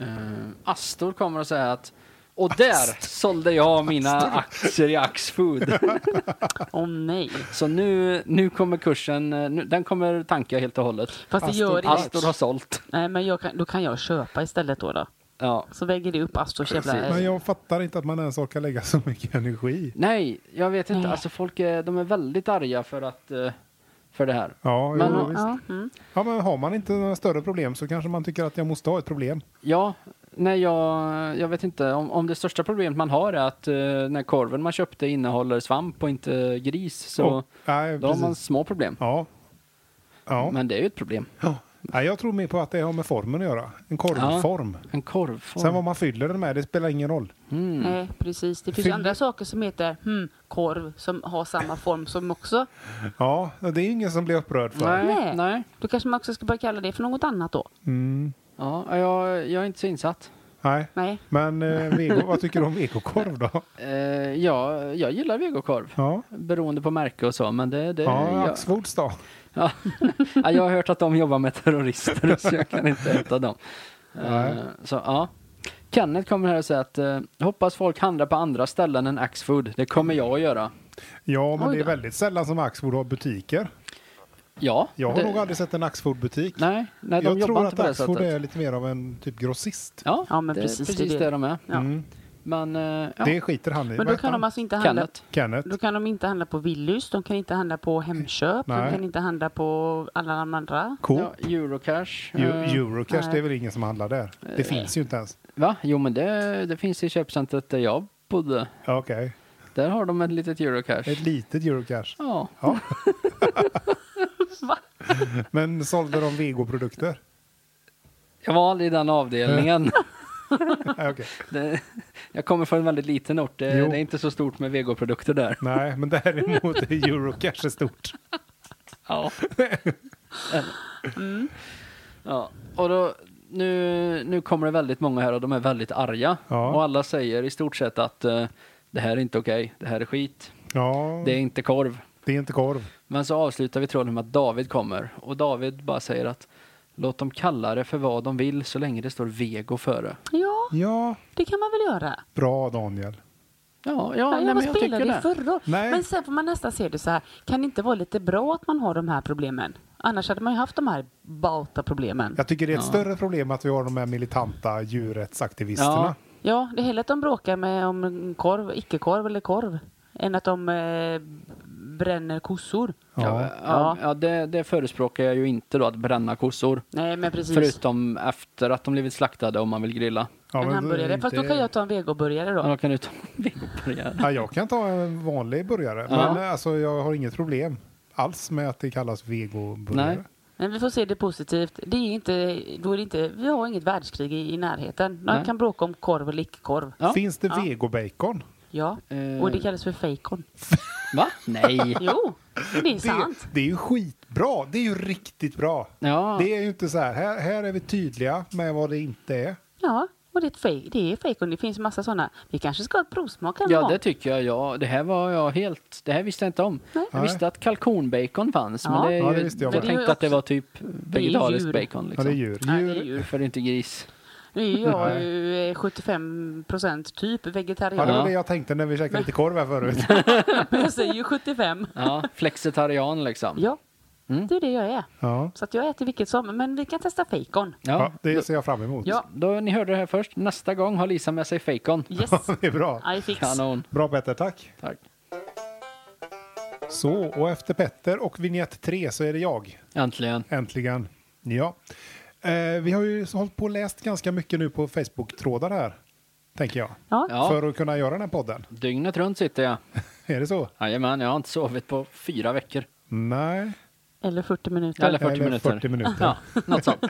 [SPEAKER 1] Eh, Astor kommer att säga att och där sålde jag mina aktier i Axfood.
[SPEAKER 3] Åh nej.
[SPEAKER 1] Så nu, nu kommer kursen, eh, nu, den kommer tanka helt och hållet.
[SPEAKER 3] Fast det
[SPEAKER 2] Astor-
[SPEAKER 3] gör
[SPEAKER 1] Astor har
[SPEAKER 3] inget.
[SPEAKER 1] sålt.
[SPEAKER 3] Nej, men jag kan, då kan jag köpa istället då. då.
[SPEAKER 1] Ja.
[SPEAKER 3] Så väger det upp Astors
[SPEAKER 2] Men
[SPEAKER 1] Precis.
[SPEAKER 3] jävla...
[SPEAKER 2] jag fattar inte att man ens orkar lägga [LAUGHS] så mycket energi.
[SPEAKER 1] Nej, jag vet inte.
[SPEAKER 3] Nej.
[SPEAKER 1] Alltså folk är, de är väldigt arga för att, eh, för det här.
[SPEAKER 2] Ja,
[SPEAKER 1] Men-
[SPEAKER 2] jo, visst.
[SPEAKER 3] Ja, mm.
[SPEAKER 2] ja, men har man inte några större problem så kanske man tycker att jag måste ha ett problem.
[SPEAKER 1] Ja, nej jag, jag vet inte. Om, om det största problemet man har är att eh, den här korven man köpte innehåller svamp och inte gris så
[SPEAKER 2] Och- nej,
[SPEAKER 1] då har man
[SPEAKER 2] precis.
[SPEAKER 1] små problem.
[SPEAKER 2] Ja. Ja.
[SPEAKER 1] Men det är ju ett problem.
[SPEAKER 2] ja. Nej, jag tror mer på att det har med formen att göra. En
[SPEAKER 1] Ja.
[SPEAKER 2] korvform.
[SPEAKER 1] En korvform.
[SPEAKER 2] Sen vad man fyller den med, det spelar ingen roll.
[SPEAKER 1] mm.
[SPEAKER 3] Nej, precis. Det finns
[SPEAKER 2] Fyll-
[SPEAKER 3] ju andra saker som heter hmm, korv som har samma form som också.
[SPEAKER 2] Ja, det är ingen som blir upprörd för.
[SPEAKER 1] Nej, nej.
[SPEAKER 3] Nej. Då kanske man också ska börja kalla det för något annat då.
[SPEAKER 2] Mm.
[SPEAKER 1] Ja, jag, jag är inte så insatt.
[SPEAKER 2] Nej.
[SPEAKER 3] Nej.
[SPEAKER 2] Men eh, vego, vad tycker du om vegokorv då?
[SPEAKER 1] Eh, ja, jag gillar vegokorv.
[SPEAKER 2] Ja,
[SPEAKER 1] Beroende på märke och så, men det... det
[SPEAKER 2] ja
[SPEAKER 1] jag,
[SPEAKER 2] Axfoods då?
[SPEAKER 1] ja. Ja, jag har hört att de jobbar med terrorister så jag kan inte äta dem. Eh,
[SPEAKER 2] Nej.
[SPEAKER 1] så, ja. Kenneth kommer här och säger att eh, hoppas folk handlar på andra ställen än Axfood. Det kommer jag att göra.
[SPEAKER 2] Ja, men
[SPEAKER 3] Oj
[SPEAKER 2] det är
[SPEAKER 3] då.
[SPEAKER 2] väldigt sällan som Axfood har butiker.
[SPEAKER 1] Ja.
[SPEAKER 2] Jag har
[SPEAKER 1] det,
[SPEAKER 2] nog aldrig sett en Axfood-butik.
[SPEAKER 1] Nej, nej de
[SPEAKER 2] jag
[SPEAKER 1] jobbar
[SPEAKER 2] tror
[SPEAKER 1] inte
[SPEAKER 2] att
[SPEAKER 1] på det
[SPEAKER 2] Axfood
[SPEAKER 1] sättet.
[SPEAKER 2] är lite mer av en typ grossist.
[SPEAKER 1] Ja,
[SPEAKER 3] Ja, men
[SPEAKER 1] det är
[SPEAKER 3] precis, det är
[SPEAKER 1] precis det,
[SPEAKER 3] det.
[SPEAKER 1] de är.
[SPEAKER 3] Ja.
[SPEAKER 2] Mm.
[SPEAKER 1] Men, eh, ja.
[SPEAKER 2] Det skiter han i.
[SPEAKER 3] Men
[SPEAKER 2] Vad
[SPEAKER 3] då
[SPEAKER 2] heter
[SPEAKER 3] kan de
[SPEAKER 2] han?
[SPEAKER 3] alltså inte handla,
[SPEAKER 1] Kenneth.
[SPEAKER 2] Kenneth.
[SPEAKER 3] då kan de inte handla på Willys, de kan inte handla på Hemköp,
[SPEAKER 2] Nej.
[SPEAKER 3] de kan inte handla på alla de andra.
[SPEAKER 1] Ja,
[SPEAKER 2] Coop.
[SPEAKER 1] Eurocash. eh,
[SPEAKER 2] Eu- Eurocash,
[SPEAKER 3] nej.
[SPEAKER 2] det är väl ingen som handlar där? Det finns ju inte ens.
[SPEAKER 1] Va? Jo, men det, det finns i köpcentret där jag bodde.
[SPEAKER 2] Ja, Okej,
[SPEAKER 1] Där har de ett litet Eurocash.
[SPEAKER 2] ett litet Eurocash.
[SPEAKER 1] Ja.
[SPEAKER 2] Ja. Men sålde
[SPEAKER 1] [LAUGHS]
[SPEAKER 2] de vegoprodukter?
[SPEAKER 1] Jag var aldrig i den
[SPEAKER 2] [LAUGHS]
[SPEAKER 1] avdelningen. [LAUGHS]
[SPEAKER 2] Nej, okej.
[SPEAKER 1] det, jag kommer från en väldigt liten ort. Det,
[SPEAKER 2] Jo.
[SPEAKER 1] det är inte så stort med vegoprodukter där.
[SPEAKER 2] Nej, men däremot är Eurocash är stort.
[SPEAKER 1] [LAUGHS] Ja. Mm. ja. Och då, nu, nu kommer det väldigt många här och de är väldigt arga.
[SPEAKER 2] Ja.
[SPEAKER 1] Och alla säger i stort sett att eh, det här är inte okej, det här är skit,
[SPEAKER 2] Mm. Ja,
[SPEAKER 1] det är inte korv.
[SPEAKER 2] det är inte korv.
[SPEAKER 1] Men så avslutar vi tråden med att David kommer och David bara säger att låt dem kalla det för vad de vill så länge det står vego före.
[SPEAKER 3] Ja,
[SPEAKER 2] Ja,
[SPEAKER 3] det kan man väl göra.
[SPEAKER 2] bra Daniel.
[SPEAKER 1] Ja, ja,
[SPEAKER 3] Ja,
[SPEAKER 1] nej,
[SPEAKER 3] jag
[SPEAKER 1] men
[SPEAKER 3] var
[SPEAKER 1] jag tycker
[SPEAKER 3] spelade i
[SPEAKER 1] det.
[SPEAKER 3] förra året.
[SPEAKER 2] Nej.
[SPEAKER 3] Men sen får man nästan se det så här, kan det inte vara lite bra att man har de här problemen? Annars hade man ju haft de här bauta problemen.
[SPEAKER 2] Jag tycker det är ett
[SPEAKER 1] Ja.
[SPEAKER 2] större problem att vi har de här militanta djurrättsaktivisterna.
[SPEAKER 3] Ja, det är hellre att de bråkar med om korv, icke-korv eller korv, än att de eh, bränner kossor.
[SPEAKER 1] Ja,
[SPEAKER 2] Ja.
[SPEAKER 1] ja. ja, det, det förespråkar jag ju inte då, att bränna kossor.
[SPEAKER 3] Nej, men precis.
[SPEAKER 1] Förutom efter att de blivit slaktade om man vill grilla.
[SPEAKER 2] Ja,
[SPEAKER 3] en
[SPEAKER 2] men då är det
[SPEAKER 3] hamburgare. Fast då
[SPEAKER 2] inte-
[SPEAKER 3] kan jag ta en vegoburgare då.
[SPEAKER 1] Ja, då kan du ta vegoburgare.
[SPEAKER 2] Ja, jag kan ta en vanlig burgare.
[SPEAKER 1] Ja.
[SPEAKER 2] Men eh, alltså, jag har inget problem alls med att det kallas
[SPEAKER 1] Nej.
[SPEAKER 2] vegoburgare.
[SPEAKER 3] Men vi får se det positivt. Det är inte, då är det inte, vi har inget världskrig i, i närheten. Man
[SPEAKER 1] Nej.
[SPEAKER 3] kan bråka om korv och lickkorv.
[SPEAKER 1] Ja.
[SPEAKER 2] Finns det
[SPEAKER 3] Ja.
[SPEAKER 2] vegobacon?
[SPEAKER 3] Ja,
[SPEAKER 1] Eh.
[SPEAKER 3] och det kallas
[SPEAKER 1] [LAUGHS]
[SPEAKER 3] för fejkon.
[SPEAKER 1] Va? Nej.
[SPEAKER 3] Jo, det är
[SPEAKER 2] Det,
[SPEAKER 3] sant.
[SPEAKER 2] det är ju skitbra. Det är ju riktigt bra.
[SPEAKER 1] Ja.
[SPEAKER 2] Det är ju inte så här. här. Här är vi tydliga med vad det inte är.
[SPEAKER 3] Ja, och det är, ett fej, det är fejkon. Det finns massa sådana. Vi kanske ska ha ett provsmak en
[SPEAKER 1] Ja,
[SPEAKER 3] gång.
[SPEAKER 1] det tycker jag. Ja, det här var jag helt... Det här visste jag inte om.
[SPEAKER 3] Nej.
[SPEAKER 1] Jag visste att kalkonbacon fanns,
[SPEAKER 3] Ja.
[SPEAKER 1] men det, är
[SPEAKER 2] Ja,
[SPEAKER 1] ju,
[SPEAKER 2] det visste jag
[SPEAKER 1] jag
[SPEAKER 2] med.
[SPEAKER 1] tänkte
[SPEAKER 3] Det är ju
[SPEAKER 1] att det
[SPEAKER 3] också-
[SPEAKER 1] var typ vegetariskt
[SPEAKER 3] djur.
[SPEAKER 1] bacon.
[SPEAKER 2] Ja,
[SPEAKER 1] Liksom.
[SPEAKER 2] det är djur.
[SPEAKER 3] Nej, det är
[SPEAKER 2] djur.
[SPEAKER 3] djur.
[SPEAKER 1] För det är inte gris.
[SPEAKER 3] Nu är jag ju eh, 75 procent typ
[SPEAKER 2] Ja,
[SPEAKER 3] vegetarian.
[SPEAKER 2] det var
[SPEAKER 1] Ja.
[SPEAKER 2] det jag tänkte när vi käkade lite korv här
[SPEAKER 3] [LAUGHS]
[SPEAKER 2] förut.
[SPEAKER 3] Men jag säger ju 75.
[SPEAKER 1] Ja, [LAUGHS] flexitarian liksom.
[SPEAKER 3] Ja,
[SPEAKER 1] Mm.
[SPEAKER 3] det är det jag är.
[SPEAKER 2] Ja.
[SPEAKER 3] Så att jag äter vilket som. Men vi kan testa fejkon.
[SPEAKER 2] Ja,
[SPEAKER 1] Ja.
[SPEAKER 2] det ser jag fram emot. [LAUGHS]
[SPEAKER 3] Ja.
[SPEAKER 1] Då, ni hörde det här först. Nästa gång har Lisa med sig fejkon. [LAUGHS]
[SPEAKER 3] Yes,
[SPEAKER 2] Det är bra.
[SPEAKER 3] I fix.
[SPEAKER 1] Kanon.
[SPEAKER 2] Bra Petter, tack.
[SPEAKER 1] Tack.
[SPEAKER 2] Så, och efter Petter och vignett 3 så är det jag.
[SPEAKER 1] Äntligen.
[SPEAKER 2] Äntligen. Ja. Eh, vi har ju hållit på och läst ganska mycket nu på Facebook-trådar här, tänker jag.
[SPEAKER 3] Ja.
[SPEAKER 1] Ja.
[SPEAKER 2] För att kunna göra den här podden.
[SPEAKER 1] Dygnet runt sitter jag.
[SPEAKER 2] Är det så?
[SPEAKER 1] Jajamän, jag har inte sovit på fyra veckor.
[SPEAKER 2] Nej.
[SPEAKER 3] Eller 40 minuter.
[SPEAKER 1] Eller 40
[SPEAKER 2] Eller
[SPEAKER 1] minuter.
[SPEAKER 2] 40 minuter.
[SPEAKER 1] Ja, något sånt.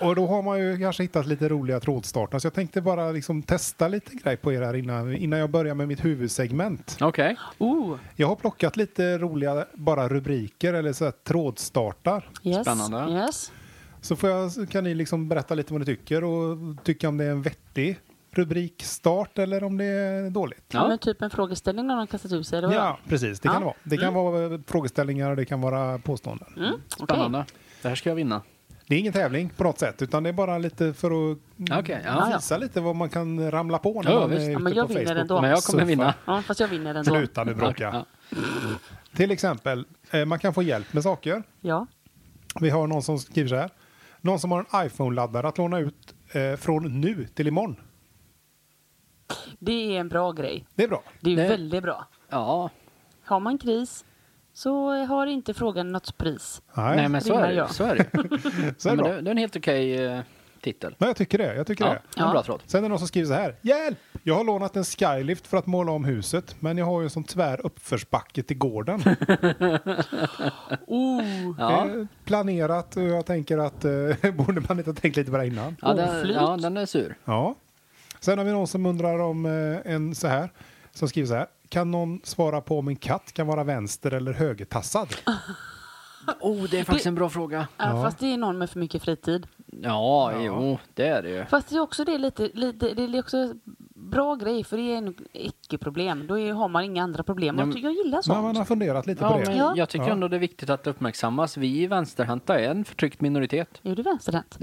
[SPEAKER 2] Och då har man ju kanske hittat lite roliga trådstartar. Så jag tänkte bara liksom testa lite grej på er här innan, innan jag börjar med mitt huvudsegment.
[SPEAKER 1] Okej.
[SPEAKER 3] Oh,
[SPEAKER 2] Jag har plockat lite roliga bara rubriker eller så här trådstartar.
[SPEAKER 3] yes.
[SPEAKER 1] Spännande.
[SPEAKER 3] Yes.
[SPEAKER 2] Så får jag, så kan ni liksom berätta lite vad ni tycker och tycka om det är en vettig rubrikstart eller om det är dåligt.
[SPEAKER 3] Ja.
[SPEAKER 1] Ja.
[SPEAKER 3] Men typ en frågeställning när de kastat ut sig. Eller vad?
[SPEAKER 2] Ja, precis. Det kan
[SPEAKER 3] Ja.
[SPEAKER 2] det vara. Det
[SPEAKER 1] Mm.
[SPEAKER 2] kan vara eh, frågeställningar och det kan vara påståenden.
[SPEAKER 3] Mm, okej.
[SPEAKER 1] Spännande. Det här ska jag vinna.
[SPEAKER 2] Det är ingen tävling på något sätt, utan det är bara lite för att mm,
[SPEAKER 1] Okej, ja.
[SPEAKER 2] visa lite vad man kan ramla på när
[SPEAKER 1] Ja,
[SPEAKER 2] man
[SPEAKER 1] visst.
[SPEAKER 2] är
[SPEAKER 1] Ja,
[SPEAKER 2] ute
[SPEAKER 3] men jag
[SPEAKER 2] på
[SPEAKER 3] vinner
[SPEAKER 2] Facebook.
[SPEAKER 3] ändå.
[SPEAKER 1] Men jag kommer
[SPEAKER 2] Surfa.
[SPEAKER 1] vinna.
[SPEAKER 3] Ja, fast jag vinner ändå.
[SPEAKER 2] Sluta nu bråka.
[SPEAKER 1] Ja.
[SPEAKER 2] Till exempel, eh, man kan få hjälp med saker.
[SPEAKER 3] Ja.
[SPEAKER 2] Vi har någon som skriver så här. Någon som har en iPhone-laddare att låna ut eh, från nu till imorgon.
[SPEAKER 3] Det är en bra grej.
[SPEAKER 2] Det är bra.
[SPEAKER 3] Det är
[SPEAKER 1] Det-
[SPEAKER 3] väldigt bra.
[SPEAKER 1] ja.
[SPEAKER 3] Har man kris så har inte frågan något pris.
[SPEAKER 2] Nej,
[SPEAKER 1] Nej, men så är det ju.
[SPEAKER 3] jag.
[SPEAKER 1] Så är
[SPEAKER 2] [LAUGHS]
[SPEAKER 1] det ju.
[SPEAKER 2] så är
[SPEAKER 1] Ja,
[SPEAKER 2] det
[SPEAKER 1] men
[SPEAKER 2] bra.
[SPEAKER 1] det, det är en helt okej eh, titel.
[SPEAKER 2] Men jag tycker det. Jag tycker
[SPEAKER 1] Ja,
[SPEAKER 2] det.
[SPEAKER 1] det är en
[SPEAKER 3] Ja.
[SPEAKER 1] bra tråd.
[SPEAKER 2] Sen är det någon som skriver så här. Hjälp! Jag har lånat en skylift för att måla om huset, men jag har ju en sån tvär uppförsbacke till gården.
[SPEAKER 3] Oh,
[SPEAKER 1] Ja.
[SPEAKER 2] Eh, Planerat och jag tänker att eh, [LAUGHS] borde man inte ha tänkt lite på det innan?
[SPEAKER 1] Ja, den,
[SPEAKER 3] Oflyt.
[SPEAKER 1] ja, den är sur.
[SPEAKER 2] Ja. Sen har vi någon som undrar om eh, en så här, som skriver så här. Kan någon svara på om en katt kan vara vänster eller högertassad?
[SPEAKER 1] Ah, Oh, det är faktiskt en bra fråga.
[SPEAKER 3] ja. Äh, Fast det är någon med för mycket fritid.
[SPEAKER 1] Ja, jo, det är det ju.
[SPEAKER 3] Fast det är också det är lite, lite det är också bra grej för det är en icke-problem. Då är, har man inga andra problem.
[SPEAKER 1] Ja,
[SPEAKER 3] Jag,
[SPEAKER 1] men-
[SPEAKER 3] tycker jag gillar
[SPEAKER 2] Men man
[SPEAKER 3] sånt.
[SPEAKER 2] har funderat lite
[SPEAKER 1] Ja,
[SPEAKER 2] på det.
[SPEAKER 1] men
[SPEAKER 3] Ja.
[SPEAKER 1] jag tycker
[SPEAKER 2] Ja.
[SPEAKER 1] ändå det är viktigt att det uppmärksammas. Vi vänsterhänta är en förtryckt minoritet.
[SPEAKER 3] Är du vänsterhänt?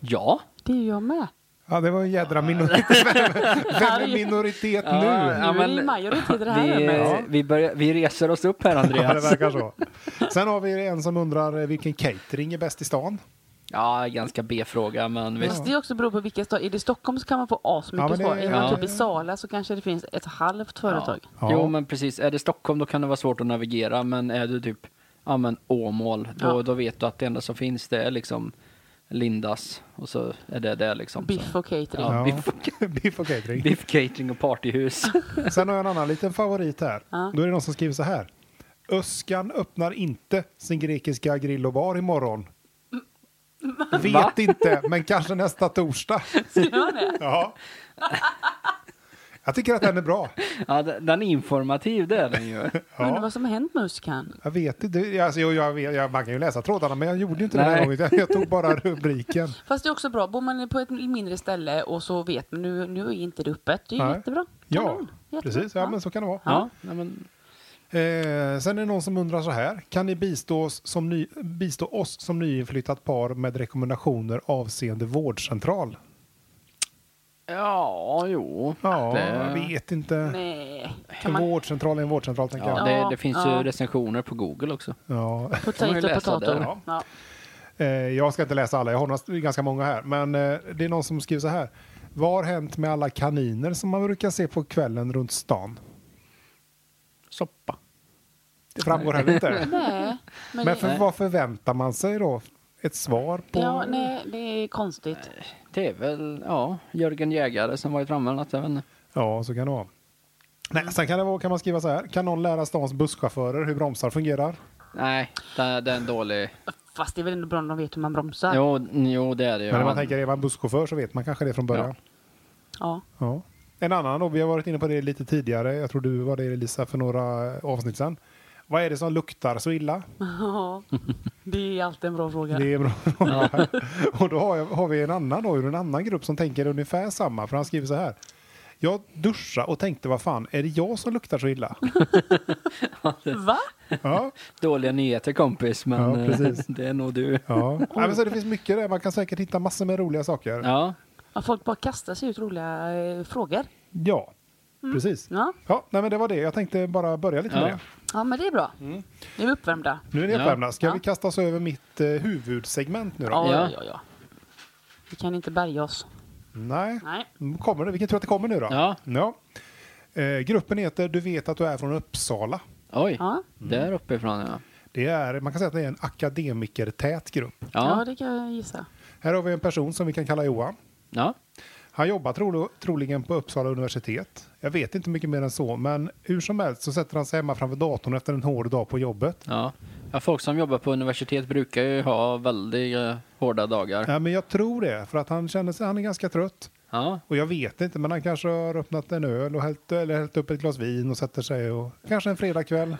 [SPEAKER 1] Ja.
[SPEAKER 3] Det är jag med.
[SPEAKER 2] Ja, det var en jädra minoritet.
[SPEAKER 1] [LAUGHS]
[SPEAKER 2] Vem- Vem är minoritet nu?
[SPEAKER 1] Ja,
[SPEAKER 3] nu är det
[SPEAKER 1] men-
[SPEAKER 3] ju majoritet i det här
[SPEAKER 1] Vi,
[SPEAKER 3] rummet.
[SPEAKER 1] vi, börjar, vi reser oss upp här,
[SPEAKER 2] Ja, det
[SPEAKER 1] Andreas.
[SPEAKER 2] verkar så. Sen har vi en som undrar eh, vilken catering är bäst i stan.
[SPEAKER 1] Ja, ganska B-fråga, men visst.
[SPEAKER 3] Fast det också beror på vilken stad. Är det Stockholm så kan man få
[SPEAKER 2] Ja,
[SPEAKER 3] asmycket
[SPEAKER 2] men det-
[SPEAKER 3] svar. Är man
[SPEAKER 1] ja.
[SPEAKER 3] typ i Sala så kanske det finns ett halvt företag.
[SPEAKER 2] Ja.
[SPEAKER 1] Jo, men precis. Är det Stockholm då kan det vara svårt att navigera, men är du typ ja, men Åmål, då,
[SPEAKER 3] Ja.
[SPEAKER 1] då vet du att det enda som finns det är liksom Lindas och så är det det liksom.
[SPEAKER 3] Biff
[SPEAKER 2] Alltså.
[SPEAKER 1] så.
[SPEAKER 3] och catering.
[SPEAKER 1] Ja. biff
[SPEAKER 2] [LAUGHS] Biff och catering.
[SPEAKER 1] Biff catering och partyhus.
[SPEAKER 3] [LAUGHS]
[SPEAKER 2] Sen har jag en annan liten favorit här.
[SPEAKER 3] Ja.
[SPEAKER 2] Då är det någon som skriver så här. Öskan öppnar inte sin grekiska grill och bar imorgon. Vet
[SPEAKER 1] Va?
[SPEAKER 2] inte, men kanske
[SPEAKER 1] [LAUGHS]
[SPEAKER 2] nästa torsdag.
[SPEAKER 3] Skulle man det?
[SPEAKER 2] Ja. Jag tycker att den är bra.
[SPEAKER 1] ja, den den är informativ, det är den ju.
[SPEAKER 3] Undrar
[SPEAKER 2] Ja.
[SPEAKER 3] vad som har hänt med Uskan?
[SPEAKER 2] Jag vet inte, alltså, jag, jag, vet- jag, man kan ju läsa trådarna men jag gjorde ju inte det den här
[SPEAKER 1] Nej.
[SPEAKER 2] gången. Jag, jag tog bara rubriken.
[SPEAKER 3] Fast det är också bra, bor man på ett mindre ställe och så vet man nu, nu är inte det öppet. Det är ju
[SPEAKER 2] Nej.
[SPEAKER 3] jättebra.
[SPEAKER 2] Ja,
[SPEAKER 3] Kanon. Jättebra.
[SPEAKER 2] precis. Ja, men så kan det vara.
[SPEAKER 1] Ja, nej, men,
[SPEAKER 2] Eh, sen är det någon som undrar så här. Kan ni bistå oss som, ny, bistå oss som nyinflyttat par med rekommendationer avseende vårdcentral?
[SPEAKER 1] ja jo.
[SPEAKER 2] Ja,
[SPEAKER 1] det,
[SPEAKER 2] jag vet inte.
[SPEAKER 3] Nej.
[SPEAKER 2] En
[SPEAKER 3] Kan man
[SPEAKER 2] vårdcentral är en vårdcentral, tänker
[SPEAKER 1] ja,
[SPEAKER 2] jag.
[SPEAKER 1] det,
[SPEAKER 3] Ja,
[SPEAKER 1] det finns
[SPEAKER 3] ja.
[SPEAKER 1] ju recensioner på Google också.
[SPEAKER 2] Ja.
[SPEAKER 1] kan man ju
[SPEAKER 3] potato,
[SPEAKER 1] läsa där.
[SPEAKER 3] potato.
[SPEAKER 2] Ja.
[SPEAKER 3] Ja.
[SPEAKER 2] Eh, jag ska inte läsa alla, jag har några- ganska många här. Men eh, det är någon som skriver så här. Vad har hänt med alla kaniner som man brukar se på kvällen runt stan?
[SPEAKER 1] Soppa.
[SPEAKER 2] Det framgår heller inte. [LAUGHS]
[SPEAKER 3] Nej, men,
[SPEAKER 2] Men
[SPEAKER 3] det,
[SPEAKER 2] för, vad förväntar man sig då? Ett svar på...
[SPEAKER 3] ja, nej, det är konstigt.
[SPEAKER 1] Det är väl, ja, Jörgen Jägare som varit framme eller något, jag vet inte.
[SPEAKER 2] Ja, så kan det vara. Nej, sen kan, det vara, kan man skriva så här. Kan någon lära stans busschaufförer hur bromsar fungerar?
[SPEAKER 1] Nej, det, det är en dålig...
[SPEAKER 3] Fast det är väl ändå bra om de vet hur man bromsar.
[SPEAKER 1] Jo, jo det är det ju.
[SPEAKER 2] Men om man tänker, är man busschaufför så vet man kanske det från början.
[SPEAKER 3] Ja. [LAUGHS]
[SPEAKER 2] Ja. En annan då, vi har varit inne på det lite tidigare. Jag tror du var det Elisa för några avsnitt sedan. Vad är det som luktar så illa?
[SPEAKER 3] Ja. det är alltid en bra fråga.
[SPEAKER 2] Det är bra. [LAUGHS] Och då har, jag, har vi en annan då, ur en annan grupp som tänker ungefär samma. För han skriver så här. Jag duschade och tänkte, vad fan, är det jag som luktar så illa?
[SPEAKER 3] Va?
[SPEAKER 2] Ja,
[SPEAKER 1] Dåliga nyheter kompis, men
[SPEAKER 2] Ja, precis.
[SPEAKER 1] eh, [LAUGHS] det är nog du.
[SPEAKER 2] ja. ja men så det finns mycket där. Man kan säkert hitta massor med roliga saker.
[SPEAKER 1] Ja,
[SPEAKER 3] Ja, folk bara kastar sig ut roliga eh, frågor.
[SPEAKER 2] Ja, precis.
[SPEAKER 3] Ja.
[SPEAKER 2] Ja, nej men det var det. Jag tänkte bara börja lite med
[SPEAKER 1] Ja.
[SPEAKER 2] det.
[SPEAKER 3] ja, men det är bra.
[SPEAKER 2] Mm.
[SPEAKER 3] Nu är vi uppvärmda.
[SPEAKER 2] Nu är ni
[SPEAKER 1] Ja.
[SPEAKER 2] uppvärmda. Ska
[SPEAKER 3] Ja.
[SPEAKER 2] vi kasta oss över mitt eh, huvudsegment nu då?
[SPEAKER 3] Ja, ja,
[SPEAKER 1] Ja.
[SPEAKER 3] ja. ja. Vi kan inte bärga oss.
[SPEAKER 2] Nej.
[SPEAKER 3] Nej.
[SPEAKER 2] Mm, Kommer det? Vilken tror att det kommer nu då?
[SPEAKER 1] Ja.
[SPEAKER 2] Eh, gruppen heter Du vet att du är från Uppsala.
[SPEAKER 1] oj.
[SPEAKER 3] Ja.
[SPEAKER 1] Där uppifrån ja.
[SPEAKER 2] Det är, man kan säga att det är en akademikertät grupp.
[SPEAKER 3] Ja.
[SPEAKER 1] Ja,
[SPEAKER 3] det kan jag gissa.
[SPEAKER 2] Här har vi en person som vi kan kalla Johan.
[SPEAKER 1] ja.
[SPEAKER 2] Han jobbar tro, troligen på Uppsala universitet. Jag vet inte mycket mer än så, men hur som helst så sätter han sig hemma framför datorn efter en hård dag på jobbet.
[SPEAKER 1] Ja. ja, folk som jobbar på universitet brukar ju ha väldigt eh, hårda dagar.
[SPEAKER 2] Ja, men jag tror det, för att han känner sig, han är ganska trött.
[SPEAKER 1] Ja,
[SPEAKER 2] Och jag vet inte, men han kanske har öppnat en öl och hällt, eller hällt upp ett glas vin och sätter sig och kanske en fredagkväll.
[SPEAKER 1] han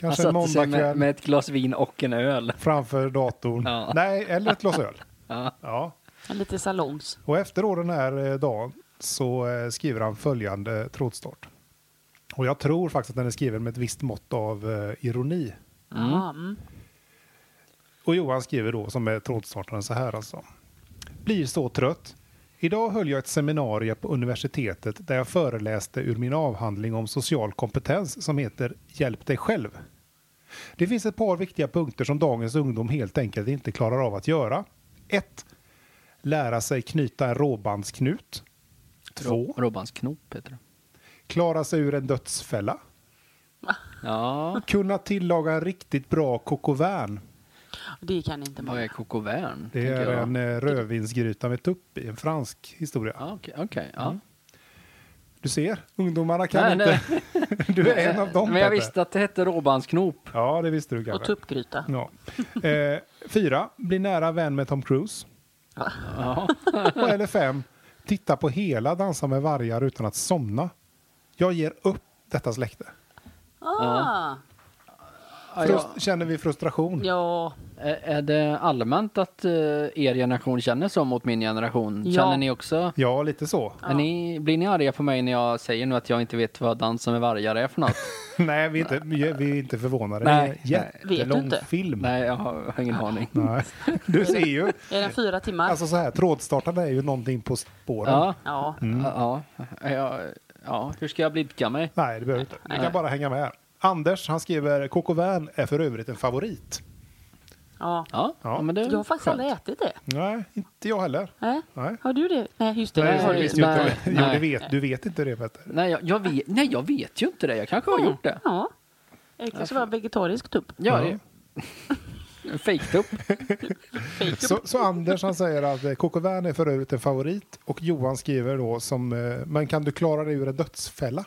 [SPEAKER 2] Kanske en
[SPEAKER 1] satte sig med,
[SPEAKER 2] måndagkväll
[SPEAKER 1] med ett glas vin och en öl.
[SPEAKER 2] framför datorn.
[SPEAKER 1] Ja.
[SPEAKER 2] Nej, eller ett glas öl.
[SPEAKER 1] [LAUGHS] Ja.
[SPEAKER 2] Ja.
[SPEAKER 3] Lite salongs.
[SPEAKER 2] Och efter då den här eh, dagen så eh, skriver han följande trådstart. Och jag tror faktiskt att den är skriven med ett visst mått av eh, ironi.
[SPEAKER 3] Ja, mm.
[SPEAKER 2] Och Johan skriver då, som är trådstartaren, så här alltså. Blir så trött. Idag höll jag ett seminarium på universitetet där jag föreläste ur min avhandling om social kompetens som heter Hjälp dig själv. Det finns ett par viktiga punkter som dagens ungdom helt enkelt inte klarar av att göra. 1. Lära sig knyta en råbandsknut. 2.
[SPEAKER 1] Robbansknop heter det.
[SPEAKER 2] Klara sig ur en dödsfälla.
[SPEAKER 1] Ja,
[SPEAKER 2] Kunna tillaga en riktigt bra coq au vin.
[SPEAKER 3] Det kan inte
[SPEAKER 1] vad
[SPEAKER 3] många.
[SPEAKER 1] är coq au vin?
[SPEAKER 2] Det
[SPEAKER 1] tänker
[SPEAKER 2] är
[SPEAKER 1] jag.
[SPEAKER 2] en eh, rödvinsgryta med tupp i en fransk historia.
[SPEAKER 1] Ja, okej. okej, ja.
[SPEAKER 2] Du ser, ungdomarna kan
[SPEAKER 1] Nej,
[SPEAKER 2] inte. [LAUGHS] Du är en av dem.
[SPEAKER 1] Men jag
[SPEAKER 2] Peppe.
[SPEAKER 1] visste att det hette råbandsknop.
[SPEAKER 2] Ja, det visste du
[SPEAKER 3] Och
[SPEAKER 2] kanske.
[SPEAKER 3] tuppgryta.
[SPEAKER 1] Mm.
[SPEAKER 2] Ja. Eh, fyra, bli nära vän med Tom Cruise. [LAUGHS]
[SPEAKER 1] Ja.
[SPEAKER 2] Och eller fem, titta på hela Dansa med vargar utan att somna. Jag ger upp detta släkte.
[SPEAKER 3] Ah,
[SPEAKER 1] Ja,
[SPEAKER 2] Frust- Känner vi frustration?
[SPEAKER 3] ja.
[SPEAKER 1] Ä- Är det allmänt att eh, er generation känner så mot min generation?
[SPEAKER 3] Ja.
[SPEAKER 1] Känner ni också?
[SPEAKER 2] Ja, lite så. [LAUGHS]
[SPEAKER 1] Är ni, blir ni arga på mig när jag säger nu att jag inte vet vad Dansen med vargar är för
[SPEAKER 3] [LAUGHS]
[SPEAKER 1] något?
[SPEAKER 2] Nej, vi är inte, vi är- vi är inte förvånade.
[SPEAKER 1] Nej.
[SPEAKER 2] Det är en
[SPEAKER 3] Vet du
[SPEAKER 2] jättelång
[SPEAKER 3] inte?
[SPEAKER 2] film.
[SPEAKER 1] Nej, jag har jag har ingen aning.
[SPEAKER 2] Nej. Du ser ju.
[SPEAKER 3] Är den fyra timmar?
[SPEAKER 2] Alltså så här, trådstartande är ju någonting på spåren.
[SPEAKER 1] Ja,
[SPEAKER 3] ja. Mm.
[SPEAKER 1] ja, ja, ja, ja, hur ska jag blidka mig?
[SPEAKER 2] Nej, det behöver du inte. Du
[SPEAKER 1] Nej.
[SPEAKER 2] kan bara hänga med. här. Anders, han skriver Coq au vin är för övrigt en favorit.
[SPEAKER 3] ja.
[SPEAKER 1] Ja,
[SPEAKER 2] Ja.
[SPEAKER 1] ja, men det är
[SPEAKER 3] Jag har faktiskt
[SPEAKER 1] skönt.
[SPEAKER 3] aldrig ätit det.
[SPEAKER 2] Nej, inte jag heller.
[SPEAKER 3] Nej.
[SPEAKER 2] Nej.
[SPEAKER 3] Har du det? Nej, just det.
[SPEAKER 2] Nej,
[SPEAKER 3] det
[SPEAKER 2] det
[SPEAKER 3] har
[SPEAKER 1] det
[SPEAKER 3] du.
[SPEAKER 2] visste jag inte.
[SPEAKER 1] Nej.
[SPEAKER 2] Jo,
[SPEAKER 1] Nej.
[SPEAKER 2] det vet, du vet inte det Petter.
[SPEAKER 1] Nej jag, jag vet, nej, jag vet ju inte det. Jag kanske har gjort det. Alltså.
[SPEAKER 3] Ja. Det kanske var vegetarisk tupp.
[SPEAKER 1] Ja,
[SPEAKER 2] Ja.
[SPEAKER 1] det [LAUGHS] Fejktupp.
[SPEAKER 2] Så, så Anders han säger att eh, Coq au vin är för övrigt en favorit och Johan skriver då som eh, men kan du klara dig ur en dödsfälla?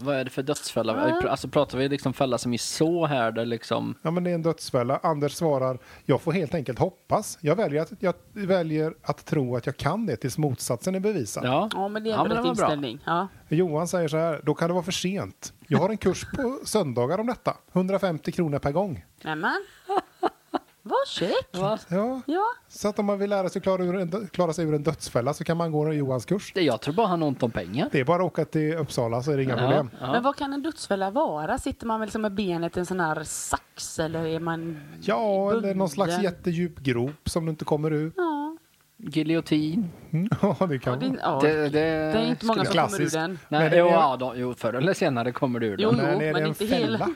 [SPEAKER 1] Vad är det för dödsfälla? Alltså pratar vi liksom fälla som i så här där liksom...
[SPEAKER 2] Ja men det är en dödsfälla. Anders svarar jag får helt enkelt hoppas. Jag väljer att, jag väljer att tro att jag kan det tills motsatsen är bevisad.
[SPEAKER 1] Ja,
[SPEAKER 3] Ja, men det är ändå
[SPEAKER 1] men
[SPEAKER 3] rätt
[SPEAKER 1] det var bra.
[SPEAKER 3] inställning. Ja.
[SPEAKER 2] Johan säger så här då kan det vara för sent. Jag har en kurs på söndagar om detta. 150 kronor per gång.
[SPEAKER 3] Nämen.
[SPEAKER 1] [LAUGHS]
[SPEAKER 3] Vad käck.
[SPEAKER 1] Va?
[SPEAKER 2] Ja,
[SPEAKER 3] Ja.
[SPEAKER 2] så att om man vill lära sig klara, ur en, dö- klara sig ur en dödsfälla så kan man gå en Johans kurs.
[SPEAKER 1] Det- Jag tror bara han har ont om pengar.
[SPEAKER 2] Det är bara att åka till Uppsala så är det inga problem.
[SPEAKER 1] Ja.
[SPEAKER 3] Men vad kan en dödsfälla vara? Sitter man väl som med benet i en sån här sax eller är man...
[SPEAKER 2] Ja, eller
[SPEAKER 3] bunden?
[SPEAKER 2] någon slags jättedjup grop som du inte kommer ur.
[SPEAKER 3] Ja,
[SPEAKER 1] Giljotin.
[SPEAKER 2] Mm. [LAUGHS] Ja, det
[SPEAKER 3] ja,
[SPEAKER 2] kan
[SPEAKER 3] det,
[SPEAKER 2] vara.
[SPEAKER 3] ja.
[SPEAKER 1] Det, det,
[SPEAKER 3] det är inte
[SPEAKER 1] skulle-
[SPEAKER 3] många som
[SPEAKER 2] jag-
[SPEAKER 3] kommer ur
[SPEAKER 2] Klassiskt.
[SPEAKER 3] den.
[SPEAKER 1] Nej,
[SPEAKER 2] Men det-
[SPEAKER 1] jo, ja, då, jo, förr eller senare kommer du ur
[SPEAKER 3] Jo,
[SPEAKER 1] den.
[SPEAKER 3] jo,
[SPEAKER 2] är
[SPEAKER 3] men
[SPEAKER 2] det en
[SPEAKER 3] inte hela.
[SPEAKER 2] fälla?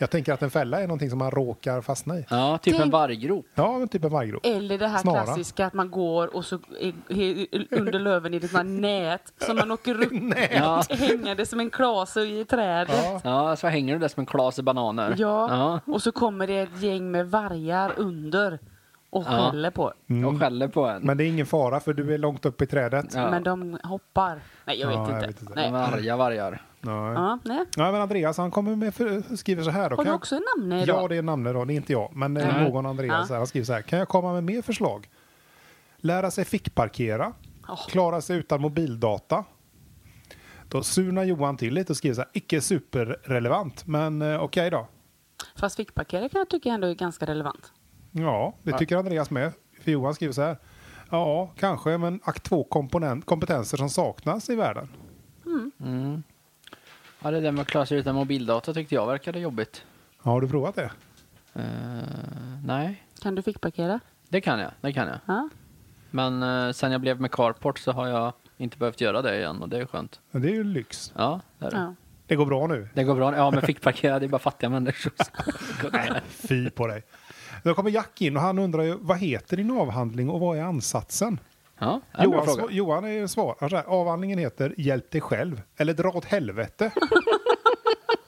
[SPEAKER 2] Jag tänker att en fälla är någonting som man råkar fastna i.
[SPEAKER 1] Ja, typ en
[SPEAKER 3] Tänk-
[SPEAKER 1] varggrop.
[SPEAKER 2] Ja, men typ en varggrop.
[SPEAKER 3] Eller det här
[SPEAKER 2] Snara.
[SPEAKER 3] klassiska att man går och så är- he- under löven är det såna nät som man åker
[SPEAKER 1] [LAUGHS]
[SPEAKER 3] upp
[SPEAKER 1] Ja.
[SPEAKER 3] hängande som en klase i
[SPEAKER 2] Ja.
[SPEAKER 3] trädet.
[SPEAKER 1] ja, så hänger du där som en klase bananer.
[SPEAKER 3] Ja, och så kommer det ett gäng med vargar under och
[SPEAKER 1] Ja.
[SPEAKER 3] skäller på.
[SPEAKER 1] Och skäller på en.
[SPEAKER 2] Mm. Men det är ingen fara för du är långt upp i trädet.
[SPEAKER 1] Ja.
[SPEAKER 3] Men de hoppar. Nej, jag vet
[SPEAKER 2] Ja,
[SPEAKER 3] inte.
[SPEAKER 2] jag vet inte.
[SPEAKER 1] De är
[SPEAKER 3] Nej.
[SPEAKER 1] arga vargar.
[SPEAKER 2] Nej.
[SPEAKER 3] Ja, nej.
[SPEAKER 2] Nej, men Andreas han kommer med för, skriver så här. Då.
[SPEAKER 3] Har
[SPEAKER 2] Kan
[SPEAKER 3] du
[SPEAKER 2] jag-
[SPEAKER 3] också en namne idag?
[SPEAKER 2] Ja, det är namnet då. Det är inte jag, men eh,
[SPEAKER 1] Nej.
[SPEAKER 2] någon Andreas.
[SPEAKER 3] Ja.
[SPEAKER 2] här, Han skriver så här. Kan jag komma med mer förslag? Lära sig fickparkera.
[SPEAKER 3] Åh.
[SPEAKER 2] Klara sig utan mobildata. Då surnar Johan till lite och skriver så här. Icke superrelevant, men eh, okej då.
[SPEAKER 3] Fast fickparkering kan jag tycka ändå är ganska relevant.
[SPEAKER 2] Ja, det tycker Andreas med. För Johan skriver så här. Ja, kanske, men akt två komponent, kompetenser som saknas i världen.
[SPEAKER 1] Ja, det där med att klara sig utan mobildata tyckte jag verkade jobbigt.
[SPEAKER 2] Ja, har du provat det?
[SPEAKER 1] Eh, nej,
[SPEAKER 3] Kan du fickparkera?
[SPEAKER 1] det kan jag. Det kan jag.
[SPEAKER 3] Ja.
[SPEAKER 1] Men eh, sen jag blev med carport så har jag inte behövt göra det igen och det är skönt.
[SPEAKER 2] Men Det är ju lyx.
[SPEAKER 1] Ja, det, är det.
[SPEAKER 3] ja.
[SPEAKER 2] Det går bra nu.
[SPEAKER 1] det går bra. Ja, men fick parkera, det är bara fattiga
[SPEAKER 2] [LAUGHS]
[SPEAKER 1] människor.
[SPEAKER 2] Fy på dig. Då kommer Jack in och han undrar ju vad heter din avhandling och vad är ansatsen?
[SPEAKER 1] Ja, det är en bra
[SPEAKER 2] Johan,
[SPEAKER 1] fråga.
[SPEAKER 2] sv- Johan är svar. Han säger, avhandlingen heter Hjälp dig själv eller Dra
[SPEAKER 1] [LAUGHS]
[SPEAKER 2] åt helvete.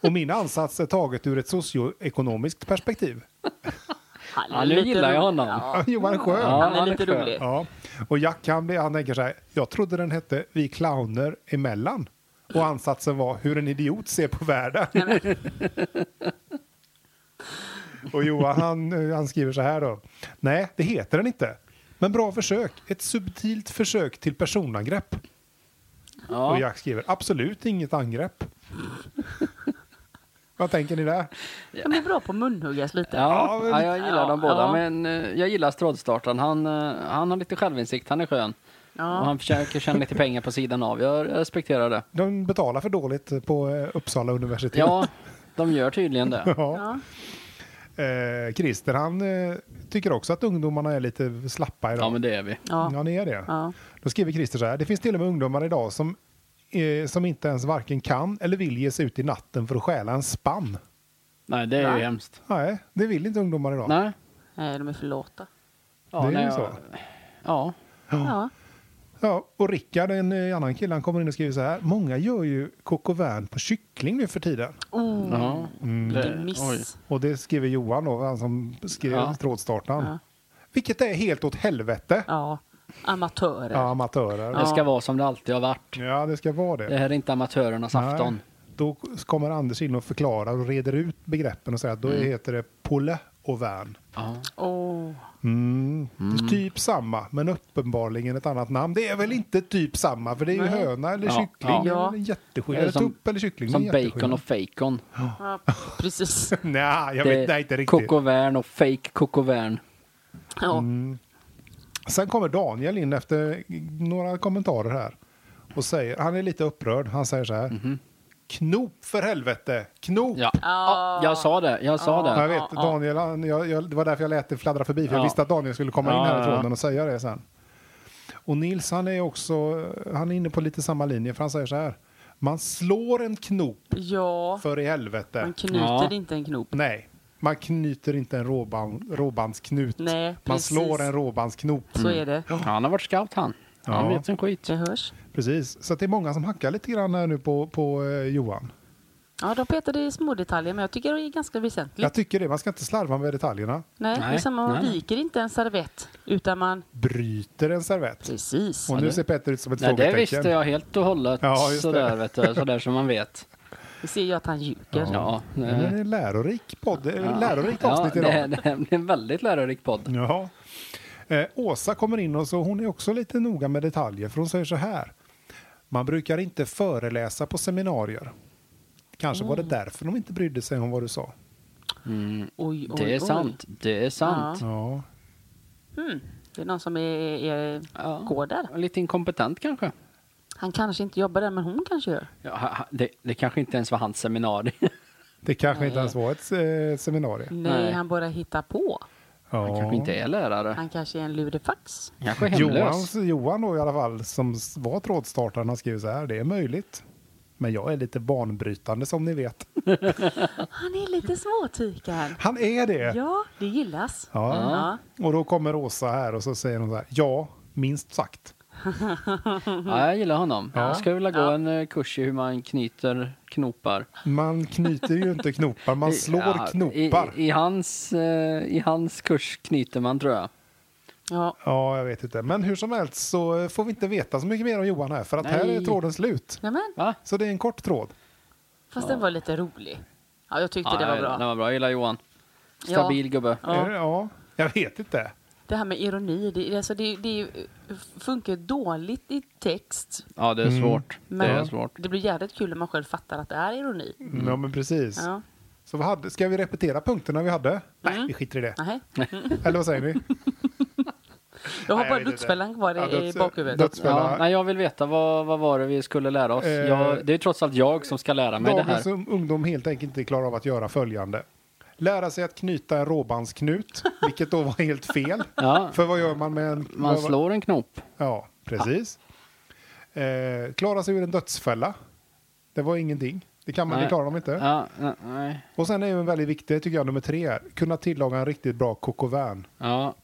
[SPEAKER 2] och min ansats är taget ur ett socioekonomiskt perspektiv.
[SPEAKER 3] Han
[SPEAKER 1] Ja, nu
[SPEAKER 3] lite
[SPEAKER 1] gillar jag
[SPEAKER 3] rolig.
[SPEAKER 1] honom.
[SPEAKER 2] Ja, [LAUGHS] Johan Sjö.
[SPEAKER 1] Ja,
[SPEAKER 3] han är
[SPEAKER 1] han är
[SPEAKER 3] lite
[SPEAKER 1] skön.
[SPEAKER 3] rolig.
[SPEAKER 2] Ja. Och Jack han, blir- han tänker så här, jag trodde den hette Vi clowner emellan. Och ansatsen var hur en idiot ser på världen. [LAUGHS] och Johan han, han skriver så här då. Nej, det heter den inte. Men bra försök. Ett subtilt försök till personangrepp. Och
[SPEAKER 1] Ja.
[SPEAKER 2] Jack skriver absolut inget
[SPEAKER 1] [LAUGHS]
[SPEAKER 2] angrepp. Vad tänker ni där?
[SPEAKER 3] De är bra på att munhuggas lite.
[SPEAKER 1] Ja,
[SPEAKER 2] men-
[SPEAKER 1] ja, jag gillar
[SPEAKER 3] Ja,
[SPEAKER 1] dem båda,
[SPEAKER 3] ja.
[SPEAKER 1] men eh, jag gillar strålstartaren. Han, eh, han har lite självinsikt, han är skön.
[SPEAKER 3] Ja.
[SPEAKER 1] Och han försöker tjäna lite pengar på sidan av. Jag jag respekterar det.
[SPEAKER 2] De betalar för dåligt på eh, Uppsala universitet.
[SPEAKER 1] Ja, de gör tydligen det.
[SPEAKER 2] Ja.
[SPEAKER 3] Ja.
[SPEAKER 2] Eh, Christer han eh, tycker också att ungdomarna är lite slappa
[SPEAKER 1] [LAUGHS]
[SPEAKER 2] idag.
[SPEAKER 1] Ja, men det är vi.
[SPEAKER 3] Ja.
[SPEAKER 2] Ja, ni är det.
[SPEAKER 3] Ja.
[SPEAKER 2] Då skriver Christer så här. Det finns till och med ungdomar idag som, eh, som inte ens varken kan eller vill ge sig ut i natten för att stjäla en spann.
[SPEAKER 1] Nej, det är
[SPEAKER 3] Nej.
[SPEAKER 1] ju hemskt.
[SPEAKER 2] Nej, det vill inte ungdomar idag.
[SPEAKER 1] Nej.
[SPEAKER 3] Nej, de är för låta.
[SPEAKER 1] Ja,
[SPEAKER 2] Det är
[SPEAKER 1] nej,
[SPEAKER 2] ju
[SPEAKER 1] jag-
[SPEAKER 2] så.
[SPEAKER 1] Ja.
[SPEAKER 3] Ja.
[SPEAKER 2] Ja, och Rickard, en eh, annan kille, han kommer in och skriver så här. Många gör ju coq au vin på kyckling nu för tiden.
[SPEAKER 3] Oh,
[SPEAKER 1] ja.
[SPEAKER 2] Mm.
[SPEAKER 3] vilken miss.
[SPEAKER 1] Oj.
[SPEAKER 2] Och det skriver Johan då, han som skrev
[SPEAKER 1] Ja.
[SPEAKER 2] trådstartaren.
[SPEAKER 3] Ja.
[SPEAKER 2] Vilket är helt åt helvete. Ja.
[SPEAKER 3] Ja. Amatörer.
[SPEAKER 2] amatörer.
[SPEAKER 1] Det ska vara som det alltid har varit.
[SPEAKER 2] Ja, det ska vara det.
[SPEAKER 1] Det här är inte amatörernas afton.
[SPEAKER 2] Nej. Då kommer Anders in och förklarar och reder ut begreppen och säger att då
[SPEAKER 1] Mm.
[SPEAKER 2] heter det Polle och Värn.
[SPEAKER 1] Ja.
[SPEAKER 3] Oh.
[SPEAKER 2] Mm. Typ samma, men uppenbarligen ett annat namn. Det är väl inte typ samma, för det är ju höna eller
[SPEAKER 1] Ja,
[SPEAKER 2] kyckling.
[SPEAKER 3] ja.
[SPEAKER 2] Eller jätteskillnad.
[SPEAKER 1] Eller
[SPEAKER 2] Eller
[SPEAKER 1] som-
[SPEAKER 2] tupp eller kyckling.
[SPEAKER 1] Som
[SPEAKER 2] det är jätteskillnad.
[SPEAKER 1] bacon och fejkon.
[SPEAKER 3] Ja, precis.
[SPEAKER 2] [LAUGHS] Nej, jag vet nej, inte riktigt.
[SPEAKER 1] Coq au vin och fake coq au vin.
[SPEAKER 3] Ja.
[SPEAKER 2] Sen kommer Daniel in efter några kommentarer här. Och säger, han är lite upprörd. Han säger så här. Knop för helvete! Knop!
[SPEAKER 1] Ja. ja, jag sa det. Jag sa
[SPEAKER 2] Ja, jag
[SPEAKER 1] det.
[SPEAKER 2] vet, Daniel, han, jag, jag, det var därför jag lät det fladdra förbi, för jag
[SPEAKER 1] Ja.
[SPEAKER 2] visste att Daniel skulle komma in
[SPEAKER 1] Ja, ja,
[SPEAKER 2] härifrån
[SPEAKER 1] ja.
[SPEAKER 2] och säga det sen. Och Nils, han är också, han är inne på lite samma linje, för han säger så här. Man slår en knop,
[SPEAKER 3] ja.
[SPEAKER 2] för i helvete.
[SPEAKER 3] Man knyter
[SPEAKER 1] Ja.
[SPEAKER 3] inte en knop.
[SPEAKER 2] Nej, man knyter inte en råband, råbandsknut.
[SPEAKER 3] Nej,
[SPEAKER 2] man
[SPEAKER 3] precis.
[SPEAKER 2] slår en råbandsknop.
[SPEAKER 1] Mm.
[SPEAKER 3] Så är det.
[SPEAKER 1] Han har varit scout han. Han
[SPEAKER 2] Ja.
[SPEAKER 1] vet sin skit.
[SPEAKER 3] Det hörs.
[SPEAKER 2] Precis, så att det är många som hackar lite grann här nu på, på eh, Johan.
[SPEAKER 3] Ja, de petade i små detaljer, men jag tycker det är ganska väsentligt.
[SPEAKER 2] Jag tycker det, man ska inte slarva med detaljerna.
[SPEAKER 3] Nej,
[SPEAKER 1] Nej,
[SPEAKER 3] det är samma. Man
[SPEAKER 1] nej.
[SPEAKER 3] viker inte en servett, utan man...
[SPEAKER 2] Bryter en servett.
[SPEAKER 3] Precis.
[SPEAKER 2] Och
[SPEAKER 1] Ja,
[SPEAKER 2] nu
[SPEAKER 1] det-
[SPEAKER 2] ser Petter ut som ett
[SPEAKER 1] Nej, det
[SPEAKER 2] frågetecken.
[SPEAKER 1] visste jag helt och hållet.
[SPEAKER 2] Ja, just det.
[SPEAKER 1] sådär, vet du, sådär som man
[SPEAKER 2] [LAUGHS]
[SPEAKER 1] vet.
[SPEAKER 3] Vi ser ju att han ljuger.
[SPEAKER 1] Ja,
[SPEAKER 2] Det är
[SPEAKER 1] eh,
[SPEAKER 2] en lärorik podd, ja. lärorikt
[SPEAKER 1] ja
[SPEAKER 2] avsnitt
[SPEAKER 1] det,
[SPEAKER 2] idag.
[SPEAKER 1] här- det här blir en väldigt lärorik podd.
[SPEAKER 2] Ja. Eh, Åsa kommer in och så hon är också lite noga med detaljer för hon säger så här. Man brukar inte föreläsa på seminarier. Kanske
[SPEAKER 1] Mm.
[SPEAKER 2] var det därför de inte brydde sig om vad du sa.
[SPEAKER 3] Oj, oj,
[SPEAKER 1] Det är
[SPEAKER 3] oj.
[SPEAKER 1] sant. Det är sant.
[SPEAKER 2] Ja,
[SPEAKER 3] Mm. Det är någon som är, är,
[SPEAKER 1] Ja.
[SPEAKER 3] går där.
[SPEAKER 1] Lite inkompetent kanske.
[SPEAKER 3] Han kanske inte jobbar där, men hon kanske gör.
[SPEAKER 1] Ja, ha- ha- det, det kanske inte ens var hans seminarium. [LAUGHS]
[SPEAKER 2] det kanske
[SPEAKER 3] Nej.
[SPEAKER 2] inte ens var ett eh, seminarium.
[SPEAKER 3] Nej,
[SPEAKER 1] Nej.
[SPEAKER 3] han bara hittar på.
[SPEAKER 2] Ja.
[SPEAKER 1] Han kanske inte är lärare.
[SPEAKER 3] Han kanske är en ludefax.
[SPEAKER 1] Han kanske är hemlös.
[SPEAKER 2] Johans, Johan då i alla fall, som s- var trådstartaren, han skrev så här. Det är möjligt. Men jag är lite banbrytande som ni vet. [LAUGHS]
[SPEAKER 3] Han är lite småtikad.
[SPEAKER 2] Han är det!
[SPEAKER 3] Ja, det gillas.
[SPEAKER 2] Ja.
[SPEAKER 3] Ja.
[SPEAKER 2] Och då kommer Åsa här och så säger hon så här. Ja, minst sagt.
[SPEAKER 1] Ja, jag gillar honom.
[SPEAKER 2] Ja.
[SPEAKER 1] Jag skulle vilja gå en eh, kurs i hur man knyter knopar.
[SPEAKER 2] Man knyter ju inte knopar, man
[SPEAKER 1] I-
[SPEAKER 2] slår
[SPEAKER 1] [LAUGHS] ja,
[SPEAKER 2] knopar.
[SPEAKER 1] I, i, hans, eh, I hans kurs knyter man tror jag.
[SPEAKER 3] Ja.
[SPEAKER 2] Ja, jag vet inte. Men hur som helst så eh, får vi inte veta så mycket mer om Johan här, för att här är
[SPEAKER 1] Nej.
[SPEAKER 2] tråden slut.
[SPEAKER 3] Nämen,
[SPEAKER 1] Va?
[SPEAKER 2] Så det är en kort tråd.
[SPEAKER 3] fast den var lite rolig. Ja, jag tyckte det
[SPEAKER 1] Ja,
[SPEAKER 3] var bra.
[SPEAKER 1] Den var bra. Jag gillar Johan.
[SPEAKER 3] Ja.
[SPEAKER 1] Stabil gubbe.
[SPEAKER 3] Ja.
[SPEAKER 2] Är det- ja, jag vet inte.
[SPEAKER 3] Det här med ironi, det, alltså det, det funkar dåligt i text.
[SPEAKER 1] Ja, det är
[SPEAKER 2] Mm.
[SPEAKER 1] svårt.
[SPEAKER 3] Men
[SPEAKER 1] Det är svårt.
[SPEAKER 3] det blir jävligt kul när man själv fattar att det är ironi.
[SPEAKER 1] Mm.
[SPEAKER 2] Ja, men precis.
[SPEAKER 3] Ja.
[SPEAKER 2] Så vad hade, ska vi repetera punkterna vi hade? Nej, vi skiter i det.
[SPEAKER 3] Nej.
[SPEAKER 2] Eller vad säger ni?
[SPEAKER 3] Jag
[SPEAKER 2] Nej, jag
[SPEAKER 3] har bara
[SPEAKER 2] vet inte.
[SPEAKER 3] dödsfällan kvar i,
[SPEAKER 2] Ja, döds-
[SPEAKER 3] i bakhuvudet.
[SPEAKER 2] döds-
[SPEAKER 1] Ja, nej, jag vill veta vad, vad var det vi skulle lära oss.
[SPEAKER 2] Eh,
[SPEAKER 1] jag, det är ju trots allt jag som ska lära mig det här.
[SPEAKER 2] Dagens un- ungdom helt enkelt inte klarar av att göra följande. Lära sig att knyta en
[SPEAKER 1] [LAUGHS]
[SPEAKER 2] råbandsknut, vilket då var helt fel.
[SPEAKER 1] Ja.
[SPEAKER 2] För vad gör man med en...
[SPEAKER 1] Man
[SPEAKER 2] [LAUGHS] vad-
[SPEAKER 1] slår en knop.
[SPEAKER 2] Ja, precis. Eh, klara sig ur en dödsfälla. Det var ingenting. Det, kan man, det
[SPEAKER 1] Nej.
[SPEAKER 2] klarar de inte.
[SPEAKER 1] Ja, nej, nej.
[SPEAKER 2] Och sen är ju en väldigt viktig, tycker jag, nummer tre. här. Kunna tillaga en riktigt bra coq au vin.
[SPEAKER 1] Ja.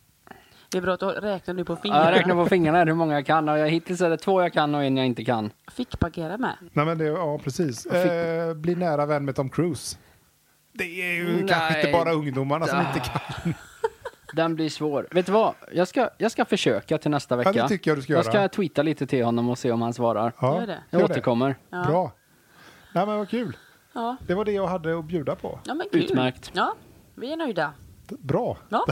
[SPEAKER 3] Det är bra att du räknar nu på
[SPEAKER 1] Ja, Jag
[SPEAKER 3] fingrarna.
[SPEAKER 1] räknar på fingrarna här hur många jag kan. Och jag, hittills är det två jag kan och en jag inte kan.
[SPEAKER 3] Fick parkera med.
[SPEAKER 2] Nej, men det, ja, precis. Eh, bli nära vän med Tom Cruise. Det är ju
[SPEAKER 1] Nej.
[SPEAKER 2] kanske inte bara ungdomarna som inte kan.
[SPEAKER 1] Den blir svår. Vet du vad? Jag ska, jag ska försöka till nästa vecka.
[SPEAKER 2] Ja, det tycker jag du ska
[SPEAKER 1] jag
[SPEAKER 2] göra.
[SPEAKER 1] ska tweeta lite till honom och se om han svarar.
[SPEAKER 2] Ja,
[SPEAKER 3] Gör det.
[SPEAKER 1] Jag
[SPEAKER 2] gör det.
[SPEAKER 1] återkommer.
[SPEAKER 3] Ja.
[SPEAKER 2] Bra. Nej, men vad kul.
[SPEAKER 3] Ja.
[SPEAKER 2] Det var det jag hade att bjuda på.
[SPEAKER 3] ja, men kul.
[SPEAKER 1] Utmärkt.
[SPEAKER 3] Ja, vi är nöjda.
[SPEAKER 2] Bra. [LAUGHS]
[SPEAKER 3] Ja.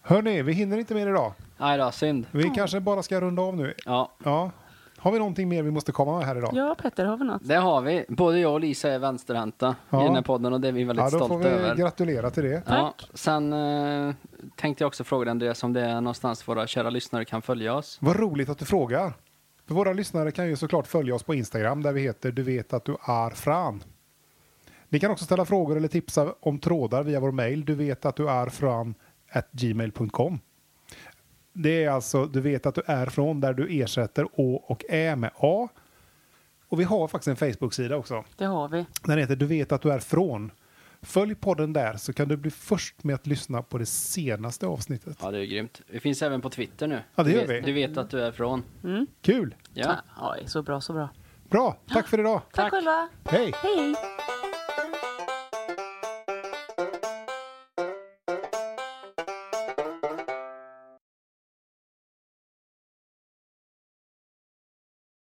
[SPEAKER 2] Hörni, vi hinner inte mer idag.
[SPEAKER 1] Nej då, synd.
[SPEAKER 2] Vi kanske bara ska runda av nu.
[SPEAKER 1] Ja,
[SPEAKER 2] Ja. Har vi någonting mer vi måste komma med här idag?
[SPEAKER 3] ja, Petter, har vi något?
[SPEAKER 1] det har vi. Både jag och Lisa är vänsterhänta
[SPEAKER 2] Ja.
[SPEAKER 1] i den här podden och det är vi väldigt
[SPEAKER 2] Ja, då får vi
[SPEAKER 1] stolta över.
[SPEAKER 2] gratulera till det.
[SPEAKER 1] Ja,
[SPEAKER 3] Tack.
[SPEAKER 1] sen eh, tänkte jag också fråga dig Andreas om det är någonstans våra kära lyssnare kan följa oss.
[SPEAKER 2] Vad roligt att du frågar. För våra lyssnare kan ju såklart följa oss på Instagram där vi heter Du vet att du är Fran. Ni kan också ställa frågor eller tipsa om trådar via vår mejl du vet att du är Fran gmail.com. Det är alltså du vet att du är från där du ersätter Å och Ä med A. Och vi har faktiskt en Facebook-sida också.
[SPEAKER 3] Det har vi.
[SPEAKER 2] Den heter Du vet att du är från. Följ podden där så kan du bli först med att lyssna på det senaste avsnittet.
[SPEAKER 1] Ja, det är grymt. Vi finns även på Twitter nu.
[SPEAKER 2] Ja, det
[SPEAKER 1] du
[SPEAKER 2] gör
[SPEAKER 1] vet,
[SPEAKER 2] vi.
[SPEAKER 1] Du vet att du är från.
[SPEAKER 2] Kul!
[SPEAKER 1] Ja.
[SPEAKER 3] Ja, så bra, så bra.
[SPEAKER 2] Bra! Tack för idag!
[SPEAKER 3] Tack, själva.
[SPEAKER 2] Hej!
[SPEAKER 3] Hej.